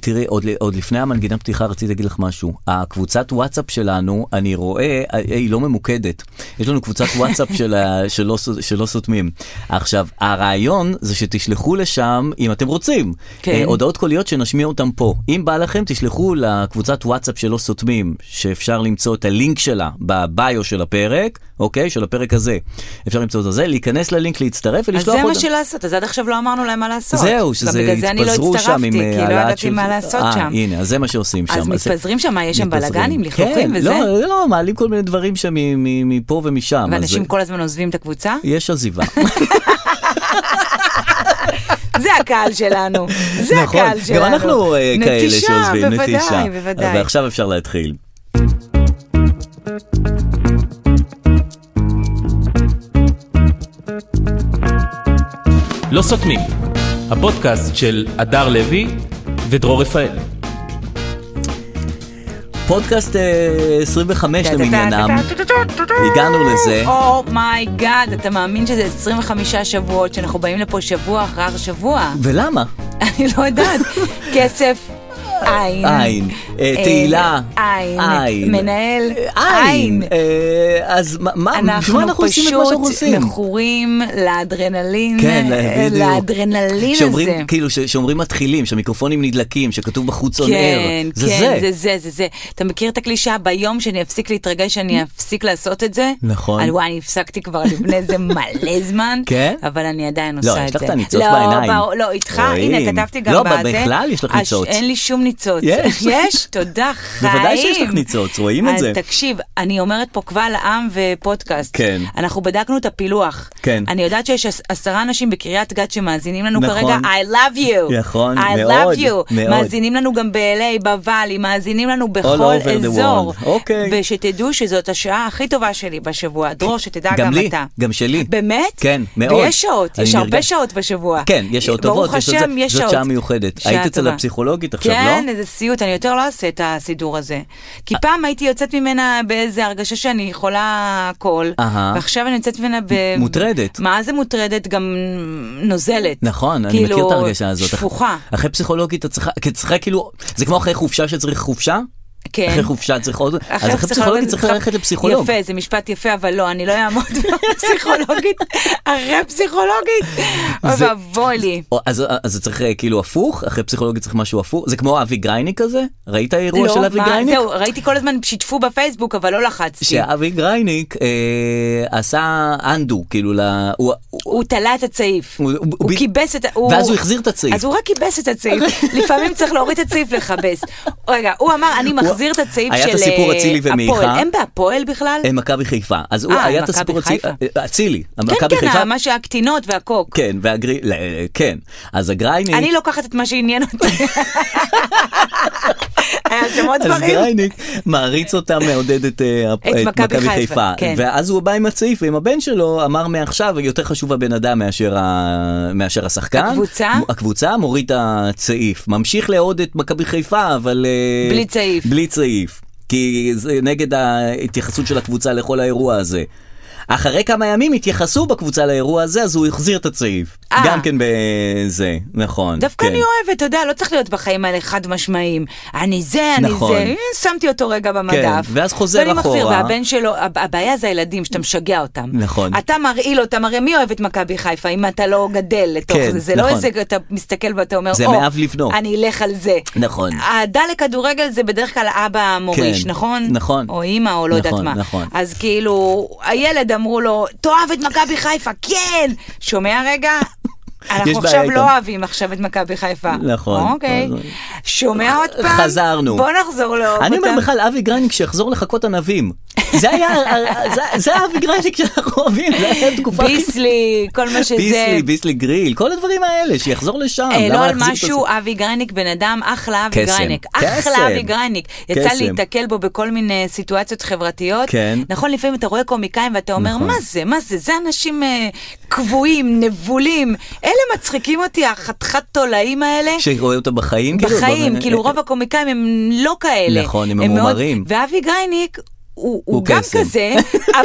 תראי, עוד, ל- עוד לפני המנגינת פתיחה רציתי להגיד לך משהו. הקבוצת וואטסאפ שלנו, אני רואה, אה, היא לא ממוקדת. יש לנו קבוצת וואטסאפ של ה- שלא, ס- שלא סותמים. עכשיו, הרעיון זה שתשלחו לשם, אם אתם רוצים, כן. אה, הודעות קוליות שנשמיע אותן פה. אם בא לכם, תשלחו לקבוצת וואטסאפ שלא סותמים, שאפשר למצוא את הלינק שלה בביו של הפרק, אוקיי? של הפרק הזה. אפשר למצוא את זה, להיכנס ללינק, להצטרף אז ולשלוח זה מה אותם. שלעשות, אז עד עכשיו לא אמרנו להם מה לעשות. זהו, גם שזה בגלל זה אני לא התפזרו שם הצטרפתי, עם כי אה, לא העלאת ידעתי מה לעשות אה, שם. הנה, אז זה מה שעושים שם. אז מתפזרים שם, מה, יש שם מתפזרים. בלאגנים, לכלוכים כן, וזה? לא, לא, מעלים כל מיני דברים שם מ- מ- מפה ומשם. אז ואנשים זה- כל הזמן עוזבים את הקבוצה? יש עזיבה. זה הקהל שלנו, זה נכון, הקהל שלנו. גם אנחנו אה, כאלה שעוזבים, נטישה. אה, בוודאי, בוודאי. ועכשיו אפשר להתחיל. לא סותמים, הפודקאסט של הדר לוי ודרור רפאל. פודקאסט אה, 25 למניינם, הגענו לזה. אומייגאד, Oh אתה מאמין שזה 25 שבועות, שאנחנו באים לפה שבוע אחר שבוע? ולמה? אני לא יודעת. כסף, עין. עין. אה, אה, תהילה. עין. עין. מנהל, אה, עין. אה, אז מה- מה בשביל מה אנחנו אנחנו עושים את מה שאנחנו פשוט עושים? מכורים לאדרנלין, כן, אה, בדיוק. לאדרנלין שאומרים, הזה. כאילו, ש- שאומרים מתחילים, שהמיקרופונים נדלקים, שכתוב בחוץ on כן, air. זה כן, זה. זה זה, זה זה. אתה מכיר את הקלישאה, ביום שאני אפסיק להתרגש, אני אפסיק לעשות את זה? Mm. נכון. אבל וואי, אני הפסקתי כבר לפני זה מלא זמן, כן? אבל אני עדיין לא, עושה את זה. יש לך את הניצוץ לא, בעיניים. ברור, לא, איתך, רואים. הנה, כתבתי גם לא, בזה. בכלל יש לך אה, ניצוץ. אין לי שום ניצוץ. יש. יש? תודה, חיים. בוודאי שיש לך ניצוץ, רואים את אז זה. תקשיב, אני אומרת פה קבל עם ופודקאסט. כן. אנחנו בדקנו את הפילוח. כן. אני יודעת שיש עש- עשרה אנשים בקריית גת שמאזינים לנו נכון. כרגע, I love you. נכון, I מאוד, love you. מאוד. מאזינים לנו גם ב-LA, בוואלי, מאזינים לנו בכל over the אזור. world. אוקיי. כן. ושתדעו שזאת השעה הכי טובה שלי בשבוע. דרור, שתדע גם, גם לי, אתה. גם שלי. באמת? כן, מאוד. ויש שעות, אני יש הרבה נרגש. שעות בשבוע. כן, יש שעות טובות. ברוך עוד זה. השם, יש שעות. זאת שעה מיוחדת. שעה היית אצל טובה. הפסיכולוגית עכשיו, לא? כן, איזה סיוט, אני יותר לא אעשה את הסידור הזה. אה. כי פעם הייתי יוצאת ממנה באיזה הרגשה שאני יכולה הכל, אהה. ועכשיו אני יוצאת ממנה ב... מ- מוטרדת. מה זה מוטרדת? גם נוזלת. נכון, אני כאילו, מכיר את ההרגשה הזאת. שפוכה. אחרי פסיכולוגית, את צריכה, כי את צריכה כאילו, זה כמו אחרי חופשה שצריך חופשה? כן. אחרי חופשה צריך עוד, אז אחרי פסיכולוגית פסיכולוגית צריך ללכת לפסיכולוג. יפה, זה משפט יפה, אבל לא, אני לא אעמוד בפסיכולוגית, אחרי פסיכולוגית. אוי זה- ואבוי לי. או, אז, אז זה צריך אה, כאילו הפוך, אחרי פסיכולוגית צריך משהו הפוך, זה כמו אבי גרייניק כזה? ראית האירוע של אבי לא, מה, גרייניק? זהו, ראיתי כל הזמן שיתפו בפייסבוק, אבל לא לחצתי. שאבי גרייניק אה, עשה אנדו, כאילו, ל... הוא, הוא, הוא תלה את הצעיף. הוא- הוא, הוא- הוא ב- כיבס את ה... ואז הוא החזיר את הצעיף. אז הוא רק כיבס את הצעיף. לפעמים צריך להוריד את הצעיף לכבס. רגע, הוא אמר, אני מחזיר את הצעיף של היה את הסיפור אה, אצילי ומיכה. הפועל. הם בהפועל בכלל? אה, מכבי חיפה. אז הוא אה, היה את מכבי הסיפור הצי- חיפה. אה, אצילי, כן, מכבי כן, חיפה. ה- מה שהקטינות והקוק. כן, והגרי... לא, אה, כן. אז הגרייניק... אני לוקחת את מה שעניין אותי. היה שם עוד אז דברים. גרייניק מעריץ אותה, מעודד את, אה, הפ- את מכבי חיפה, כן. ואז הוא בא עם הצעיף, ועם הבן שלו אמר מעכשיו, יותר חשוב הבן אדם מאשר, ה... מאשר השחקן. הקבוצה? מ- הקבוצה מוריד את הצעיף. ממשיך לאהוד את מכבי חיפה, אבל... אה, בלי צעיף. בלי צעיף. כי זה נגד ההתייחסות של הקבוצה לכל האירוע הזה. אחרי כמה ימים התייחסו בקבוצה לאירוע הזה, אז הוא החזיר את הצעיף. אה. גם כן בזה, נכון. דווקא כן. אני אוהבת, אתה יודע, לא צריך להיות בחיים האלה חד משמעיים. אני זה, אני נכון. זה, שמתי אותו רגע במדף. כן, ואז חוזר ואני מחזיר, אחורה. והבן שלו, הב- הבעיה זה הילדים, שאתה משגע אותם. נכון. אתה מרעיל אותם, הרי מי אוהב את מכבי חיפה אם אתה לא גדל לתוך כן, זה? זה לא נכון. איזה, אתה מסתכל ואתה אומר, זה "או, מאב לבנו." אני אלך על זה. נכון. אהדה לכדורגל זה בדרך כלל אבא המוריש, כן, נכון? נכון. או אימא, או לא יודעת נכון, מה. נכון. אז כאילו, הילד אמרו לו, תאהב את מכבי חיפה, כן! שומע רגע? יש אנחנו בעיה עכשיו איתם. לא אוהבים עכשיו את מכבי חיפה. נכון. אוקיי. אז- שומע עוד פעם? חזרנו. בוא נחזור לאהוב אני אומר אותם. בכלל, אבי גרייניק שיחזור לחכות ענבים. זה היה, זה- זה אבי גרייניק שאנחנו אוהבים, זה היה התקופה הכי... ביסלי, כל מה שזה. כאילו- ביסלי, ביסלי גריל, כל הדברים האלה, שיחזור לשם. אה, למה לא על להחזיר את משהו, אבי גרייניק בן אדם, אחלה אבי קסם. גרייניק. קסם. אחלה אבי גרייניק. יצא קסם. לי להתקל בו בכל מיני סיטואציות חברתיות. כן. נכון. נכון, לפעמים אתה רואה קומיקאים ואתה אומר, מה זה, מה זה, זה אנשים אה, קבועים, נבולים. אלה מצחיקים אותי, החתיכת תולעים האלה. זה? שרואה אותה בחיים? כאילו, בחיים, בוא- כאילו רוב הקומיקאים הם לא כאלה. נכון, הם מאוד- ממורמרים. ואבי גרייניק... הוא, הוא גם קסם. כזה,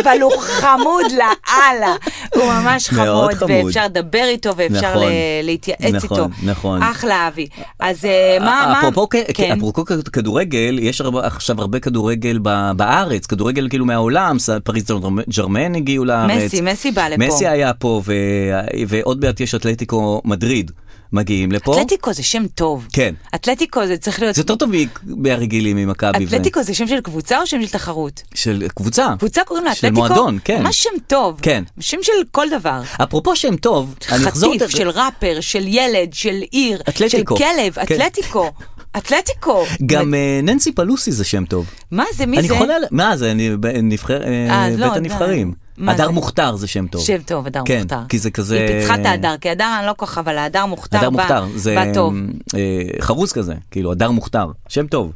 אבל הוא חמוד לאללה. הוא ממש מאוד חמוד, חמוד. ואפשר לדבר איתו, ואפשר נכון. ל- להתייעץ נכון, איתו. נכון. אחלה אבי. אז אה, מה, כן. מה... אפרופו, כ- אפרופו כ- כדורגל, יש הרבה, עכשיו הרבה כדורגל ב- בארץ, כדורגל כאילו מהעולם, ס- פריס ג'רמן הגיעו לארץ. מסי, מסי בא לפה. מסי היה פה, ו... ועוד מעט יש אתלטיקו מדריד מגיעים לפה. אתלטיקו זה שם טוב. כן. אתלטיקו זה צריך להיות... זה יותר טוב מ- מהרגילים ממכבי. ו- אתלטיקו זה שם של קבוצה או שם של תחרות? של קבוצה. קבוצה קוראים לה של אתלטיקו? מועדון, כן. ממש שם טוב. כן. שם של כל דבר. אפרופו שם טוב, אני אחזור... חטיף של ראפר, של ילד, של עיר, של אתלטיקו. כלב, כן. אתלטיקו. אתלטיקו. גם אה, ננסי פלוסי זה שם טוב. מה זה, מי אני זה? חולה על... מה זה, אני ב- נבחר... אה, אה, לא, בית די. הנבחרים. מה הדר זה? מוכתר זה שם טוב. שם טוב, הדר כן, מוכתר. כי זה כזה... היא פיצחה את ההדר, כי הדר אני לא כל כך, אבל ההדר מוכתר הדר בא- מוכתר, זה בא טוב. אה, חרוז כזה, כאילו, הדר מוכתר, שם טוב.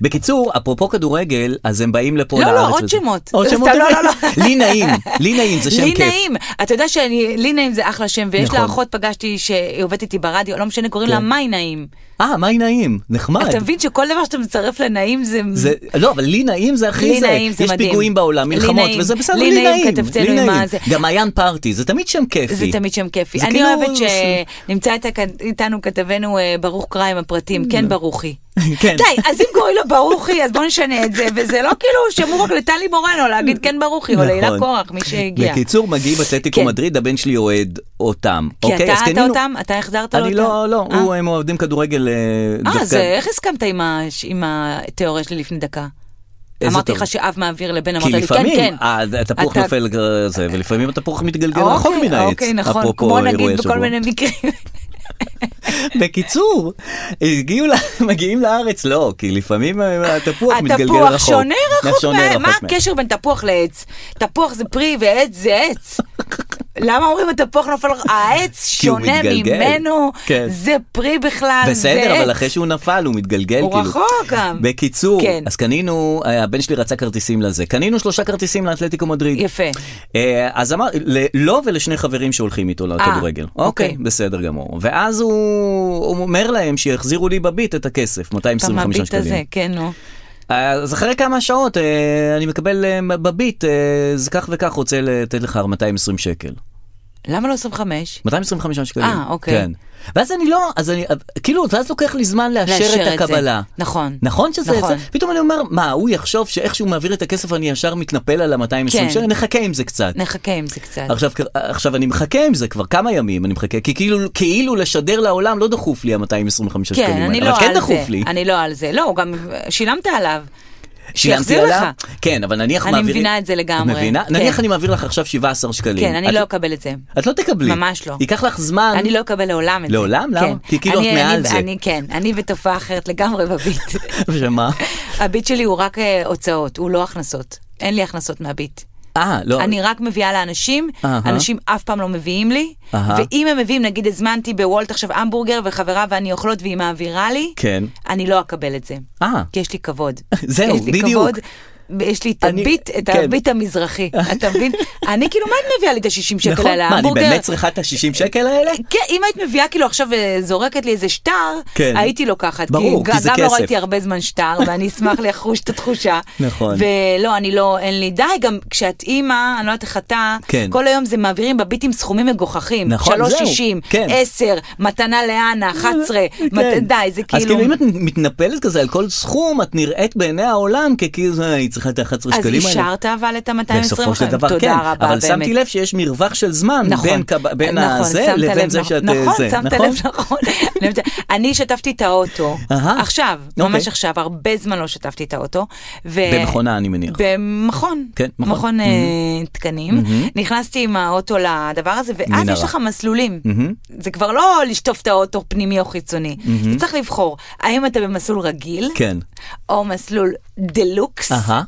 בקיצור, אפרופו כדורגל, אז הם באים לפה לא, לארץ. לא, עוד וזה- שמות. עוד סתם, שמות? לא, לא, לא. לי נעים, לי נעים זה שם לי כיף. נעים, אתה יודע שאני, לי נעים זה אחלה שם, ויש נכון. לה אחות פגשתי שהיא עובדת איתי ברדיו, לא משנה, קוראים כן. לה מאי נעים. אה, מה לי נעים? נחמד. אתה מבין שכל דבר שאתה מצרף לנעים זה... זה, לא, אבל לי נעים זה הכי לי זה. נעים זה יש מדהים. פיגועים בעולם, לי מלחמות, נעים. וזה בסדר, לי לי נעים, נעים. כתבתנו לי עם נעים. הזה. גם מעיין פארטי, זה תמיד שם כיפי. זה תמיד שם כיפי. זה אני כאילו- אוהבת שנמצא את הכ- איתנו כתבנו אה, ברוך קרא עם הפרטים, כן ברוכי. לא. כן. די, אז אם קוראים לו ברוכי, אז בוא נשנה את זה, וזה לא כאילו שמור רק לטלי מורנו להגיד כן ברוכי, או נכון. להילה קורח, מי שהגיע. בקיצור, מגיעים אתלטיקו כן. מדריד, הבן שלי אוהד אותם. כי אוקיי? אתה אז אהבת קנינו- אותם? אתה החזרת לו אותם? אני לא, לא, אה? הוא- הם אוהדים כדורגל אה, דווקא. אה, אז איך הסכמת עם ה- עם התיאוריה שלי לפני דקה? איזה אמרתי תיאוריה? לך שאב מעביר לבן, אמרת כי לי כן, לפעמים כן. ה- התפוח אתה- נופל אה, זה, ולפעמים התפוח מתגלגל אוקיי, רחוק מן העץ. אוקיי, נכון, אפרופו אה, כמו אירועי נגיד בכל השבוע. מיני מקרים. בקיצור, הגיעו, ל- מגיעים לארץ, לא, כי לפעמים אה, התפוח מתגלגל רחוק. התפוח שונה רחוק שונה מה... רחוק מה מהם. הקשר בין תפוח לעץ? תפוח זה פרי ועץ זה עץ. למה אומרים התפוח נופל? העץ כי הוא שונה מתגלגל. ממנו, כן. זה פרי בכלל, זה עץ. בסדר, אבל אחרי שהוא נפל הוא מתגלגל הוא כאילו. רחוק גם. בקיצור, כן. אז קנינו, אה, הבן שלי רצה כרטיסים לזה. קנינו שלושה כרטיסים לאתלטיקו מדריד. יפה. אה, אז אמר, ל- לו ולשני חברים שהולכים איתו לכדורגל. אוקיי, אה, אוקיי. בסדר גמור. ואז הוא הוא אומר להם שיחזירו לי בביט את הכסף, אתה 225 מביט שקלים. הזה, כן, נו. אז אחרי כמה שעות אה, אני מקבל אה, בביט, אה, זה כך וכך, רוצה לתת לך 220 שקל. למה לא 25? 225 שקלים. אה, אוקיי. כן. ואז אני לא, אז אני, כאילו, ואז לוקח לי זמן לאשר לאשר את את זה. הקבלה. נכון. נכון שזה, נכון. נכון. זה, פתאום אני אומר, מה, הוא יחשוב שאיך שהוא מעביר את הכסף אני ישר מתנפל על ה-220 כן. נכון. שקל? נחכה עם זה קצת. נחכה עם זה קצת. עכשיו, עכשיו אני מחכה עם זה כבר כמה ימים, אני מחכה, כי כאילו, כאילו לשדר לעולם לא דחוף לי ה-225 שקלים. כן, אני האלה, לא אבל כן על דחוף זה. לי. אני לא על זה. לא, הוא גם שילמת עליו. שילמתי שיחזיר עליו? לך. כן, אבל נניח אני מעביר... מבינה את זה לגמרי. מבינה? כן. נניח אני מעביר לך עכשיו 17 שקלים. כן, אני את- לא אקבל את זה. את לא תקבלי. ממש לא. ייקח לך זמן. אני לא אקבל לעולם את זה. לעולם? למה? כן. כי כאילו אני- את מעל אני- זה. אני כן, אני בתופעה אחרת לגמרי בביט. שמה? הביט שלי הוא רק אה, הוצאות, הוא לא הכנסות. אין לי הכנסות מהביט. אה, לא. אני רק מביאה לאנשים, אהה. אנשים אף פעם לא מביאים לי, אהה. ואם הם מביאים, נגיד הזמנתי בוולט עכשיו המבורגר וחברה ואני אוכלות והיא מעבירה לי, כן. אני לא אקבל את זה. אה. כי יש לי כבוד. זהו, יש לי בדיוק. כבוד, יש לי את אני- הביט, את כן. הביט המזרחי, אתה מבין? אני כאילו, מה את מביאה לי את ה-60 שקל נכון? על מה, אני ההמבורגר? באמת צריכה את ה-60 שקל האלה? כן, אם היית מביאה כאילו עכשיו אה, זורקת לי איזה שטר, כן. הייתי לוקחת. ברור, כי גם- זה גם לא כסף. ראיתי הרבה זמן שטר, ואני אשמח לחוש את התחושה. נכון. ולא, אני לא, אין לי די, גם כשאת אימא, אני לא יודעת איך אתה, כן. כל היום זה מעבירים בביטים סכומים מגוחכים. נכון, זהו. 3.60, כן. אה, 10, מתנה לאנה, 11, מת- כן. די, זה אז כאילו כאילו... אם את מתנפלת כזה על כל סכום, את נראית בעיני העולם ככאילו, "אה, היא צריכה את ה-11 שקלים אז האלה. אישרת אבל את ה-220, בסופו של דבר תודה כן, רבה, אבל באמת. שמתי לב שיש מרווח של זמן נכון, בין, קב... בין נכון, הזה שמת לבין לב, זה נכון, שאת אה, נכון, זה, שמת לב, נכון. אני שטפתי את האוטו, אהה. עכשיו, אוקיי. ממש עכשיו, הרבה זמן לא שטפתי את האוטו. ו- במכונה, אני מניח. במכון, כן, מכון. Mm-hmm. מכון אה, תקנים. נכנסתי עם האוטו לדבר הזה, ואז מנהרה. Mm-hmm. יש לך מסלולים. זה כבר לא לשטוף את האוטו פנימי או חיצוני. אתה צריך לבחור, האם אתה במסלול רגיל, כן. או מסלול דלוקס, אהה.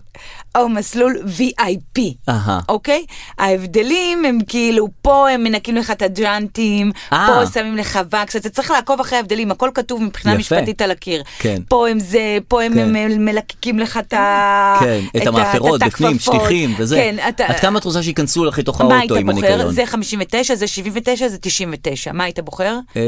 או מסלול VIP, אהה. אוקיי? ההבדלים הם כאילו, פה הם מנקים לך את הג'אנטים, אה. פה שמים לך וקס, אתה צריך לעקוב אחרי ההבדלים, הכל כתוב מבחינה יפה. משפטית על הקיר. כן. פה הם זה, פה הם כן. הם מלקקים לך את ה... כן, את ה- המאפרות, את בפנים, הכפפות. שטיחים וזה. כן, אתה... עד כמה את רוצה שייכנסו לך לתוך מה היית האוטו עם בוחר? הניקיון? זה 59, זה 79, זה 99. מה היית בוחר? אה,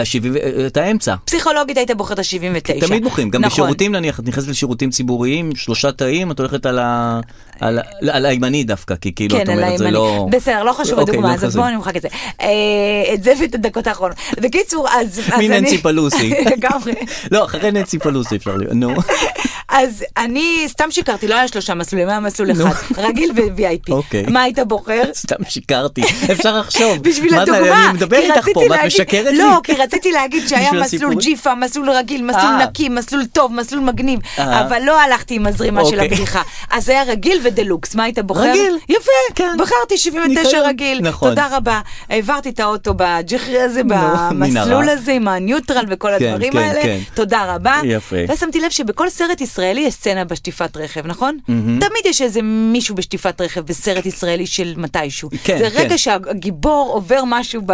השבעים- אה, את האמצע. פסיכולוגית היית בוחר את ה-79. תמיד בוחרים, גם נכון. בשירותים נניח, את נכנסת לשירותים ציבוריים, שלושה תאים, את הולכת על ה- על ה- על הימני דווקא, כי כאילו את כן, על אומרת זה הימני. לא... בסדר, לא חשוב אוקיי, הדוגמה לא הזאת, חשוב. בואו נמחק את זה. אה, את זה ואת הדקות האחרונות. בקיצור, אז אז אני... מי ננסי פלוסי. לגמרי. לא, אחרי ננסי פלוסי אפשר להיות, נו. אז אני סתם שיקרתי, לא היה שלושה מסלולים, היה מסלול נו. אחד, רגיל ו-VIP. אוקיי. מה היית בוחר? סתם שיקרתי, אפשר לחשוב. בשביל מה זה, הדוגמה, אני מדבר כי איתך רציתי פה, מה את להגיד- משקרת לי? לא, כי רציתי להגיד שהיה בשביל מסלול הסיפור? ג'יפה, מסלול רגיל, מסלול אה. נקי, מסלול טוב, מסלול מגניב, אה. אבל לא הלכתי עם הזרימה של אוקיי. הבדיחה. אז היה רגיל ודה-לוקס, מה היית בוחר? רגיל. יפה, כן. בחרתי 79 ניקיון. רגיל, נכון. תודה רבה. העברתי את האוטו בג'יחרי הזה, נו, מן במסלול הרע. הזה, עם הניוטרל וכל כן, הדברים כן, האלה, כן. תודה רבה. יפה. ושמתי לב שבכל סרט ישראלי יש סצנה בשטיפת רכב, נכון? תמיד יש איזה מישהו בשטיפת רכב בסרט ישראלי של מתישהו. כן, זה רגע כן. שהגיבור עובר משהו ב...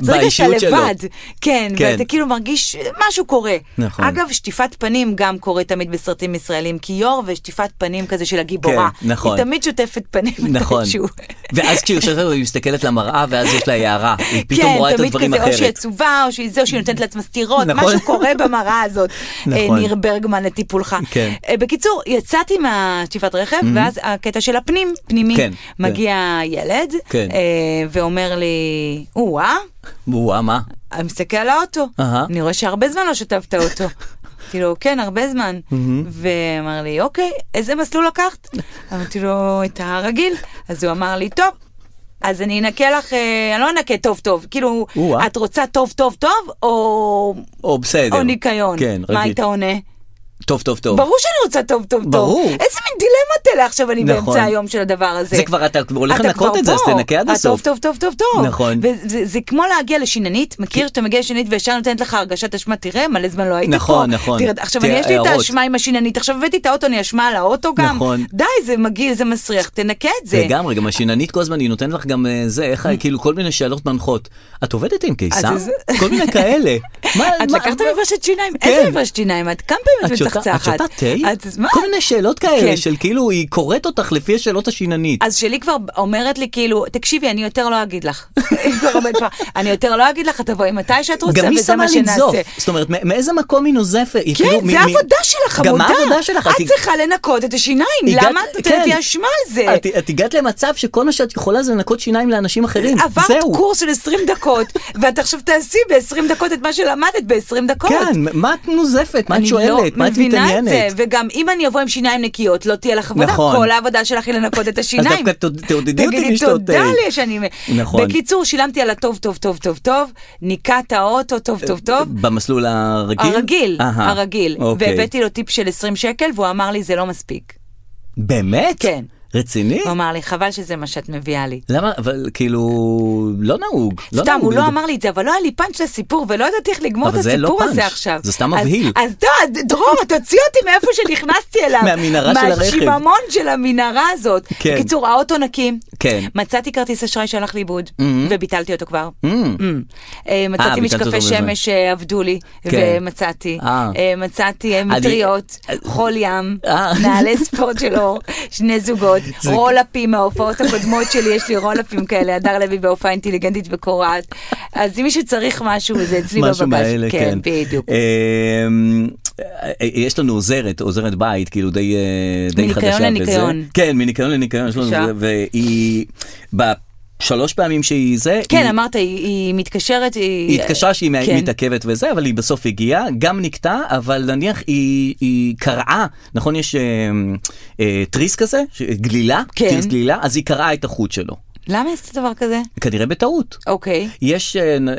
זה רגע שאתה באישיות שלו. לבד. כן, כן. ואתה כאילו מרגיש משהו קורה. נכון. אגב, שטיפת פנים גם קורה תמיד בסרטים ישראלים, כי יור ושטיפת פנים כזה של הגיבורה. כן, נכון. היא תמיד שוטפת פנים נכון. מתישהו. ואז כשהיא יושבת היא מסתכלת למראה ואז יש לה הערה, היא פתאום כן, רואה את תמיד הדברים כזה, או שהיא אחרת. עצובה, או שהיא זה, או שהיא נותנת לעצמה סטירות, נכון. משהו קורה במראה הזאת. נכון. אה, ניר ברגמן לטיפולך. כן. אה, בקיצור, יצאתי מהשטיפת רכב, ואז הקטע של הפנים, פנימי, כן, מגיע ילד, כן. אה, ואומר לי, או-אה, וואה, מה? אני מסתכל על האוטו, אהה. אני רואה שהרבה זמן לא שטפת אותו. אמרתי לו, כן, הרבה זמן. ואמר לי, אוקיי, איזה מסלול לקחת? אמרתי לו, את הרגיל. אז הוא אמר לי, טוב, אז אני אנקה לך, אה, אני לא אנקה טוב טוב, כאילו, או-אה. את רוצה טוב טוב טוב, או או בסדר. או ניקיון? כן, מה רגיל. היית עונה? טוב, טוב, טוב. ברור שאני רוצה טוב טוב טוב. ברור. איזה מין דילמות אלה עכשיו אני נכון. באמצע היום של הדבר הזה. זה כבר, אתה כבר הולך אתה לנקות כבר את זה, אז פה. תנקה עד אה, הסוף. טוב, טוב, טוב, טוב, טוב. נכון. וזה זה כמו להגיע לשיננית, מכיר שאתה מגיע לשיננית וישר נותנת לך הרגשת אשמה, תראה, מלא זמן לא הייתי פה. נכון, נכון. תראה, עכשיו, אני תראה, יש לי את הערות. האשמה עם השיננית, עכשיו הבאתי את האוטו, אני אשמה על האוטו גם. נכון. די, זה מגעיל, זה מסריח, תנקה את זה. לגמרי, גם השיננית כל הזמן, היא נותנת לך גם אה, זה, איך, ה- כאילו כל מיני שאלות מנחות. את עובדת עם קיסר? אז זה- כל מיני כאלה. מה- את מה- לקחת מה- מברשת שיניים? כן. איזה מברשת שיניים את? כמה פעמים את את שותה- את מצחצחת? שותה תה? את- מה? כל מיני שאלות כאלה כן. של כאילו היא קוראת אותך לפי השאלות השיננית. אז שלי כבר אומרת לי כאילו, תקשיבי, אני יותר לא אגיד לך. היא כבר אומרת, "תשמע, אני יותר לא אגיד לך, תבואי מתי שאת רוצה, גם היא וזה שמה מה לנזוף. שנעשה. זאת אומרת, מא- מאיזה מקום היא נוזפת? היא כאילו כן, מ- מ- זה העבודה שלך, גם עבודה. העבודה שלך. את צריכה לנקות את השיניים, הגעת- למה את נותנת כן. לי אשמה על זה? את, את הגעת למצב שכל מה שאת יכולה זה לנקות שיניים לאנשים אחרים. עברת כן, זהו. קורס של 20 דקות, ואת עכשיו תעשי ב-20 דקות את מה שלמדת ב-20 דקות. כן, מ- מה את נוזפת? מה את שואלת? מה את אני לא מתעניינת? מבינה את זה, וגם אם אני אבוא עם שיניים נקיות, לא תהיה לך עבודה, נכון. כל העבודה שלך היא לנקות את השיניים. דווקא תוד- תעודדי אותי תגידי לשתות תודה תה." לי שאני... נכון. בקיצור, שילמתי על הטוב, טוב, טוב, טוב, טוב, ניקה את האוטו, טוב, טוב, טוב. במסלול הרגיל? הרגיל, אה, אהה. הרגיל. אוקיי. והבאתי לו טיפ של 20 שקל, והוא אמר לי, זה לא מספיק. באמת? כן. רציני? הוא אמר לי, חבל שזה מה שאת מביאה לי. למה? אבל כאילו, לא נהוג. סתם, נהוג הוא לא לדבר- אמר לי את זה, אבל לא היה לי פאנץ' לסיפור, ולא ידעתי איך לגמור את אבל זה לא הסיפור הזה פאנץ', עכשיו. זה סתם אז- מבהיל. אז טוב, דרור, תוציא אותי מאיפה שנכנסתי אליו. מהמנהרה של הרכב. מהשיממון של המנהרה הזאת. כן. בקיצור, האוטו נקי. כן. מצאתי כרטיס אשראי שהלך לאיבוד, וביטלתי אותו כבר. Mm. אמ. אה, מצאתי ביטלת אותו משקפי בזמן. שמש שעבדו לי, כן. ומצאתי. אה. אה, מצאתי אה, אני- מטריות, חול ים, אה. נעלי ספורט של אור, שני זוגות, רולאפים מההופעות הקודמות שלי, יש לי רולאפים כאלה, הדר לוי בהופעה אינטליגנטית וקורעת. אז אם מישהו צריך משהו, זה אצלי בבגש. משהו מהאלה, כן. בדיוק. אמ, יש לנו עוזרת, עוזרת בית, כאילו די, אה, די מניקיון חדשה. לניקיון. וזה. כן, מניקיון לניקיון. יש לנו בבקשה. זה, והיא, בשלוש פעמים שהיא זה, כן, היא, אמרת, היא- היא מתקשרת, היא התקשרה שהיא כן. כן. מתעכבת וזה, אבל היא בסוף הגיעה, גם נקטעה, אבל נניח היא, היא קראה, נכון? יש אה, אה, תריס כזה, ש- גלילה, כן. תריס גלילה, אז היא קראה את החוט שלו. למה עשית דבר כזה? כנראה בטעות. אוקיי. יש אה, נ- אה,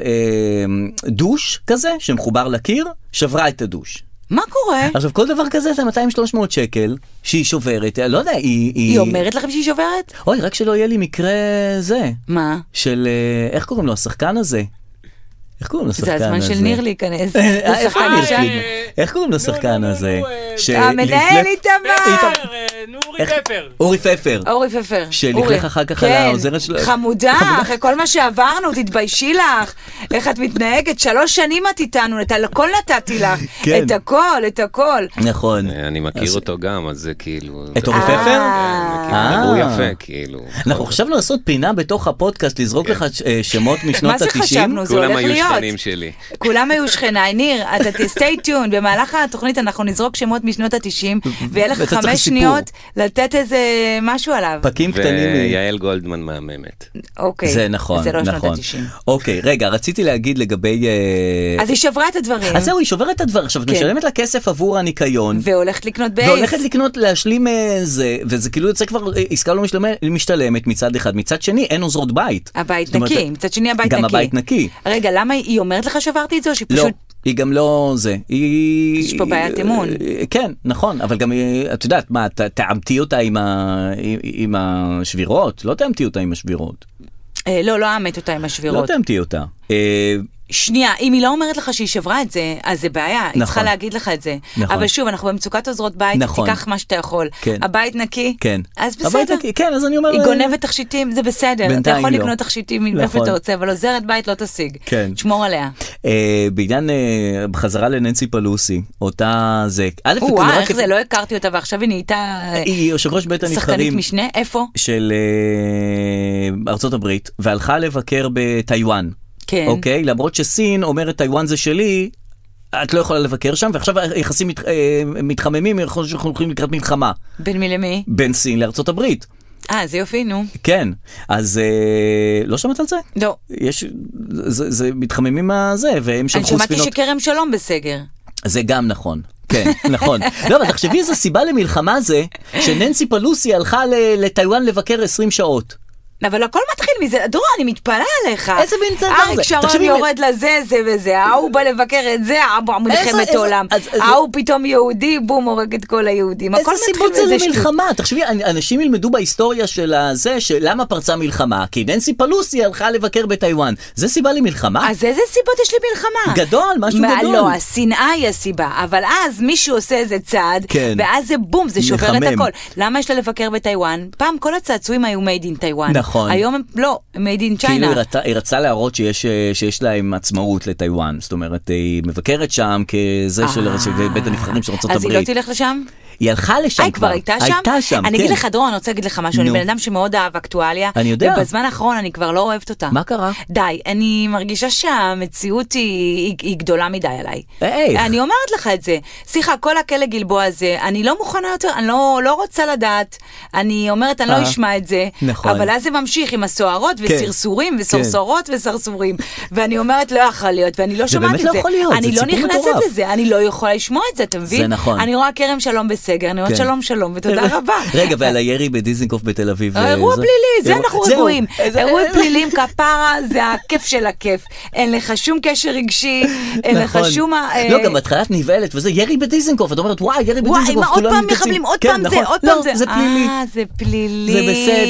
דוש כזה שמחובר לקיר, שברה את הדוש. מה קורה? עכשיו כל דבר כזה זה 200-300 שקל שהיא שוברת, לא יודע, היא... היא אומרת לכם שהיא שוברת? אוי, רק שלא יהיה לי מקרה זה, מה? של אה, איך קוראים לו, השחקן הזה? איך קוראים לשחקן זה הזה? הזמן של ניר להיכנס. אה, זה איפה שחקן ניר ישן. פרידמן? אה, איך קוראים לשחקן לא, נו, נו, הזה? נו, אה, שלפני- המנהל איתמר! פפר, אה, נו, אורי איך- פפר. אורי פפר. אורי פפר. שלכלך אחר כך על העוזרת שלו. חמודה, אחרי כל מה שעברנו, תתביישי לך. איך את מתנהגת? שלוש שנים את איתנו, את הכל נתתי לך. כן. את הכל, את הכל. נכון. אה, אני מכיר אותו גם, אז זה כאילו... את אה, אורי זה- פפר? כן, מכיר, אה. אבל הוא יפה, כאילו. אנחנו חשבנו לעשות פינה בתוך הפודקאסט, כן. לזרוק לך אה, שמות משנות מה זה ה-90. חשבנו? זה כולם הולך היו להיות. שכנים שלי. כולם היו שכניי. ניר, אתה תסטי טיון, במהלך התוכנית אנחנו נזרוק שמות משנות התשעים, ויהיה לך ואתה צריך חמש סיפור. שניות לתת איזה משהו עליו. פקים קטנים. היא- ויעל גולדמן מהממת. אוקיי. זה נכון, זה לא נכון. שנות התשעים. אוקיי, רגע, רציתי להגיד לגבי... אה, אז היא שברה את הדברים, אז זהו, היא שוברת את הדבר. עכשיו, את כן. משלמת לה כסף עבור הניקיון. והולכת לקנות בייס. והולכת לקנות, להשלים אה, זה, וזה כאילו יוצא כבר אה, עסקה לא משלמ- משתלמת מצד אחד, מצד שני אין עוזרות בית. הבית זאת אומרת, נקי, מצד שני הבית גם נקי. הבית נקי. רגע, למה היא היא אומרת לך שברתי את זה, או שהיא לא, פשוט... היא גם לא זה, היא... יש פה בעיית אמון. אה, כן, נכון, אבל גם, אה, את יודעת, מה, ת- תעמתי אותה עם ה- עם השבירות? לא תעמתי אותה עם השבירות. אה, לא, לא אמת אותה עם לא השבירות. תעמתי אותה. אה, שנייה, אם היא לא אומרת לך שהיא שברה את זה, אז זה בעיה, היא צריכה נכון. להגיד לך את זה. נכון. אבל שוב, אנחנו במצוקת עוזרות בית, נכון. תיקח מה שאתה יכול. כן. הבית נקי? כן. אז בסדר. הבית נקי, כן, אז אני אומר... היא אה, גונבת תכשיטים, זה בסדר. אתה בינתיים יכול לא. לקנות תכשיטים מאיפה נכון. שאתה רוצה, אבל עוזרת בית לא תשיג. כן. תשמור עליה. אה, בעניין, אה, בחזרה לננסי פלוסי, אותה זה... א', היא וואי, נורא איך כיף- זה, לא הכרתי אותה, ועכשיו היא נהייתה אה, היא יושב ראש בית שחקנית הנבחרים. משנה? איפה? של אה, ארצות הברית והלכה לבקר בטיוואן. כן. אוקיי? למרות שסין אומרת טיוואן זה שלי. את לא יכולה לבקר שם ועכשיו היחסים מת, אה, מתחממים יכול להיות שאנחנו הולכים לקראת מלחמה בין מי למי? בין סין לארצות הברית אה, זה יופי, נו. כן אז אה, לא שמעת על זה לא. יש זה, זה מתחממים הזה והם אני שלחו שמעתי ספינות שכרם שלום בסגר. זה גם נכון. כן, נכון. לא, אבל תחשבי איזה סיבה למלחמה זה, שננסי פלוסי הלכה ל- לטיוואן לבקר 20 שעות. אבל הכל מתחיל מזה, דרור, אני מתפלאה עליך. איזה מין צנזר אריק זה? שרון תחשבי, יורד לזה, זה וזה, ההוא בא לבקר את זה, ההוא מלחמת איזה- עולם. אז- אז- ההוא פתאום יהודי, בום, הורג את כל היהודים. איזה הכל מתחיל סיבות זה באיזה שטות. למלחמה? תחשבי, אנ- אנשים ילמדו בהיסטוריה של הזה, שלמה פרצה מלחמה, כי ננסי פלוסי הלכה לבקר בטיוואן. זה סיבה למלחמה? אז איזה סיבות יש למלחמה? גדול, משהו מה, גדול. לא, השנאה היא הסיבה, אבל אז מישהו עושה איזה צעד, כן. ואז זה בום, זה שובר את מחמם. הכל. למה יש לה לבקר בטיוואן? פעם כל הצעצועים היו made in טיוואן. נכון. היום הם, לא, הם made in China. כאילו היא רצה- היא רצה להראות שיש, אה, שיש להם עצמאות לטיוואן, זאת אומרת, אה, היא מבקרת שם כזה של אה. של בית הנבחרים של ארצות אז היא לא הברית. תלך לשם? היא הלכה לשם כבר. היי, כבר הייתה שם? הייתה שם, אני כן. אגיד לך, דרור, אני רוצה להגיד לך משהו, אני נו. בן אדם שמאוד אהב אקטואליה. אני יודע. ובזמן האחרון אני כבר לא אוהבת אותה. מה קרה? די, אני מרגישה שהמציאות היא, היא, היא גדולה מדי עליי. איך? אני אומרת לך את זה. סליחה, כל הכלא גלבוע הזה, אני לא מוכנה יותר, אני לא, לא רוצה לדעת. אני אומרת, אני לא אה. אשמע את זה. נכון. כן. אבל אז זה ממשיך עם הסוהרות וסרסורים וסרסורות וסרסורים. ואני אומרת, לא יכול להיות, ואני לא זה שומעת את באמת זה. לא יכול להיות, אני זה לא סיפור נכנסת מטורף. לזה, אני לא יכולה לשמוע את זה, אתה מבין? נכון. אני רואה כרם שלום בסגר, אני אומרת כן. שלום שלום ותודה רבה. לא, רגע, ועל הירי בדיזינגוף בתל אביב. אה, אירוע זה- פלילי, זה אירוע- אנחנו זהו. רגועים. איזה- אירועים פליליים כפרה זה הכיף של הכיף. אין לך שום קשר רגשי, אין לך נכון. שום... ה- לא, אה, גם בהתחלת נבהלת וזה, ירי בדיזנגוף, את אומרת וואי, ירי וואי, בדיזנגוף, מה, עוד כולם פעם מתכנסים." מחבלים, עוד כן, פעם זה, נכון. עוד פעם זה. לא, זה פלילי. אה, זה פלילי. זה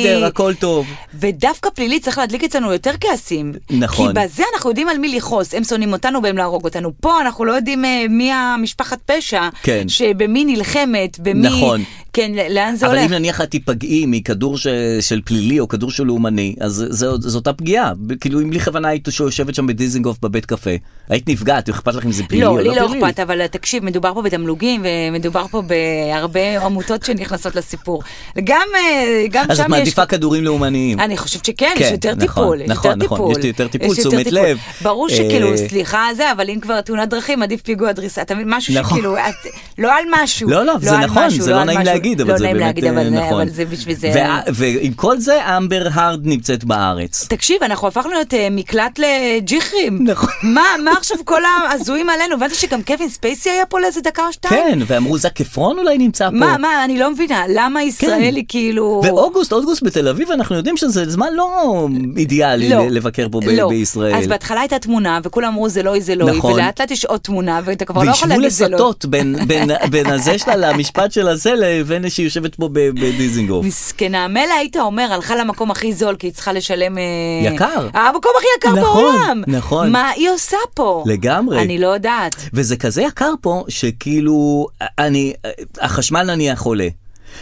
בסדר, הכל טוב. ודווקא פלילי צריך להדליק אצלנו יותר כעסים. נכון. כי בזה אנחנו יודעים על מי לכעוס, הם שונאים אותנו והם להרוג אותנו. פה אנחנו לא יודעים אה, מי המשפחת פשע, כן. שבמי נלחמת, במי... נכון. כן, ל- לאן זה אבל הולך. אם נניח את תיפגעי מכדור ש- של פלילי או כדור של לאומני, אז זה- זו אותה פגיעה. ב- כאילו אם לי כוונה היית שיושבת שם בדיזנגוף בבית קפה, היית נפגעת, אכפת לך אם זה פלילי או לא, לא לי פלילי? לא אכפת, אבל תקשיב, מדובר פה בתמלוגים, ומדובר פה בהרבה עמותות שנכנסות לסיפור. גם, אה, גם שם יש... אז את מעדיפה כדורים לאומניים. אני חושבת שכן, כן, יש יותר נכון, טיפול. יש נכון, יותר נכון, טיפול. יש יותר טיפול, יש יותר תשומת טיפול. לב. ברור אה, שכאילו, סליחה זה, אבל אם כבר תאונת דרכים, עדיף פיגוע דריסה. אתה מבין, משהו נכון. שכאילו, את- לא על משהו. לא, לא, זה על נכון, משהו, זה לא על נעים משהו. להגיד, לא אבל זה נעים באמת להגיד, אה, אבל- נכון. אבל זה בשביל זה... וה- ועם כל זה, אמבר הרד נמצאת בארץ. תקשיב, אנחנו הפכנו להיות אה, מקלט לג'יחרים. נכון. מה, מה עכשיו כל ההזויים עלינו? הבנתי שגם קווין ספייסי היה פה לאיזה דקה או שתיים? כן, ואמרו זק עפרון אולי נמצא פה. כן. מה, מה, אני לא מבינה, למה ישראל היא כאילו... ואוגוסט, אוגוסט בתל אביב, אנחנו יודעים שזה זמן לא אידיאלי לא. ל- לבקר פה ב- לא. בישראל. אז בהתחלה הייתה תמונה, וכולם אמרו זה לא היא, זה לא היא, נכון. ולאט לאט יש עוד תמונה, ואתה כבר לא יכול וישבו להגיד זה לא. היא". לסטות בין, בין, בין הזה שלה למשפט של הזה לבין שהיא יושבת פה ב- בדיזינגוף. מסכנה, מילא היית אומר, הלכה למקום הכי זול, כי היא צריכה לשלם... אה, יקר. המקום הכי יקר נכון, בעולם. נכון. מה היא עושה פה? לגמרי. אני לא יודעת. וזה כזה יקר פה, שכאילו, אני, החשמל נניח עולה.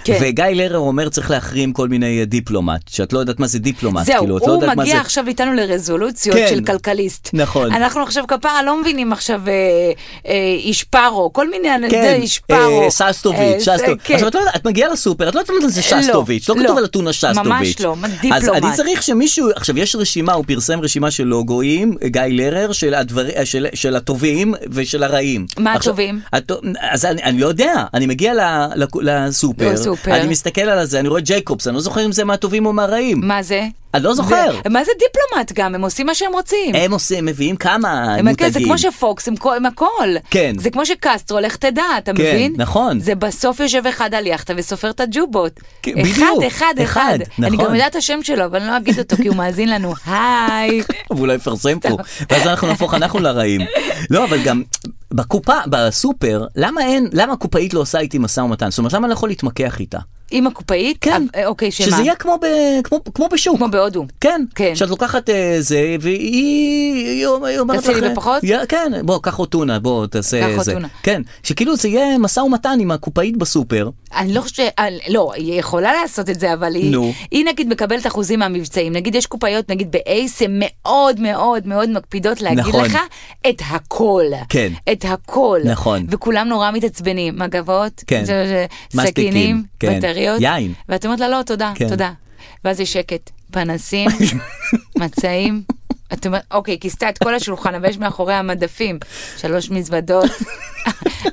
כן. וגיא לרר אומר צריך להחרים כל מיני אה, דיפלומט, שאת לא יודעת מה זה דיפלומט. זהו, כאילו, את לא הוא יודעת מה מגיע זה... עכשיו איתנו לרזולוציות כן. של כלכליסט. נכון. אנחנו עכשיו כפרה לא מבינים עכשיו אה, אה, איש פארו, כל מיני, כן, זה איש פארו. אה, שסטוביץ', אה, זה- שסטוביץ'. כן. עכשיו את, לא, יודעת- את מגיעה לסופר, את לא יודעת מה זה שסטוביץ', לא, לא. כתוב על אתונה ממש שסטוביץ'. לא, מה אז דיפלומט? אני צריך שמישהו, עכשיו יש רשימה, הוא פרסם רשימה של לוגויים, גיא לרר, של, הדבר, אה, של, של הטובים ושל הרעים. מה עכשיו, הטובים? הטו- אז אני, אני לא יודע, אני מגיע ל, ל, לסופר, לסופר. אני מסתכל על זה, אני רואה ג'ייקובס, אני לא זוכר אם זה מהטובים או מהרעים. מה זה? אני לא זוכר. זה- מה זה דיפלומט גם? הם עושים מה שהם רוצים. הם עושים, מביאים כמה הם- כן, מותגים. זה כמו שפוקס, הם כל- הם הכל. כן. זה כמו שקסטרו, לך תדע, אתה כן, מבין? נכון. זה בסוף יושב אחד על יאכטה וסופר את הג'ובות. כן, אחד, בדיוק, אחד, אחד, אחד. אני נכון. גם יודעת את השם שלו, אבל אני לא אגיד אותו, כי הוא מאזין לנו. היי. ואולי יפרסם פה, ואז אנחנו נהפוך אנחנו לרעים. לא, אבל גם בקופה, בסופר, למה אין, למה הקופאית לא עושה איתי משא ומתן? זאת אומרת, למה אני לא יכול להתמקח איתה? עם הקופאית? כן. אה, אוקיי, שמה? שזה יהיה כמו, ב, כמו, כמו בשוק. כמו בהודו. כן, כן. שאת לוקחת אה, זה, והיא היא אומרת לך... תעשי לי בפחות? יא- כן, בוא, קח אוטונה, בוא, תעשה קח זה. אוטונה. כן, שכאילו זה יהיה משא ומתן עם הקופאית בסופר. אני לא חושבת, אני- לא, היא יכולה לעשות את זה, אבל היא, נו. היא נגיד מקבלת אחוזים מהמבצעים. נגיד יש קופאיות, נגיד באייס, הן מאוד מאוד מאוד מקפידות להגיד נכון. לך את הכל. כן. את הכל. נכון. וכולם נורא מתעצבנים, מגבות, כן. זה- זה- מסטיקים, סכינים, כן. בטריות. יין. ואת אומרת לה, לא, תודה, כן. תודה. ואז יש שקט, פנסים, מצעים. את אומרת, אוקיי, כיסתה את כל השולחן, אבל יש מאחורי המדפים שלוש מזוודות,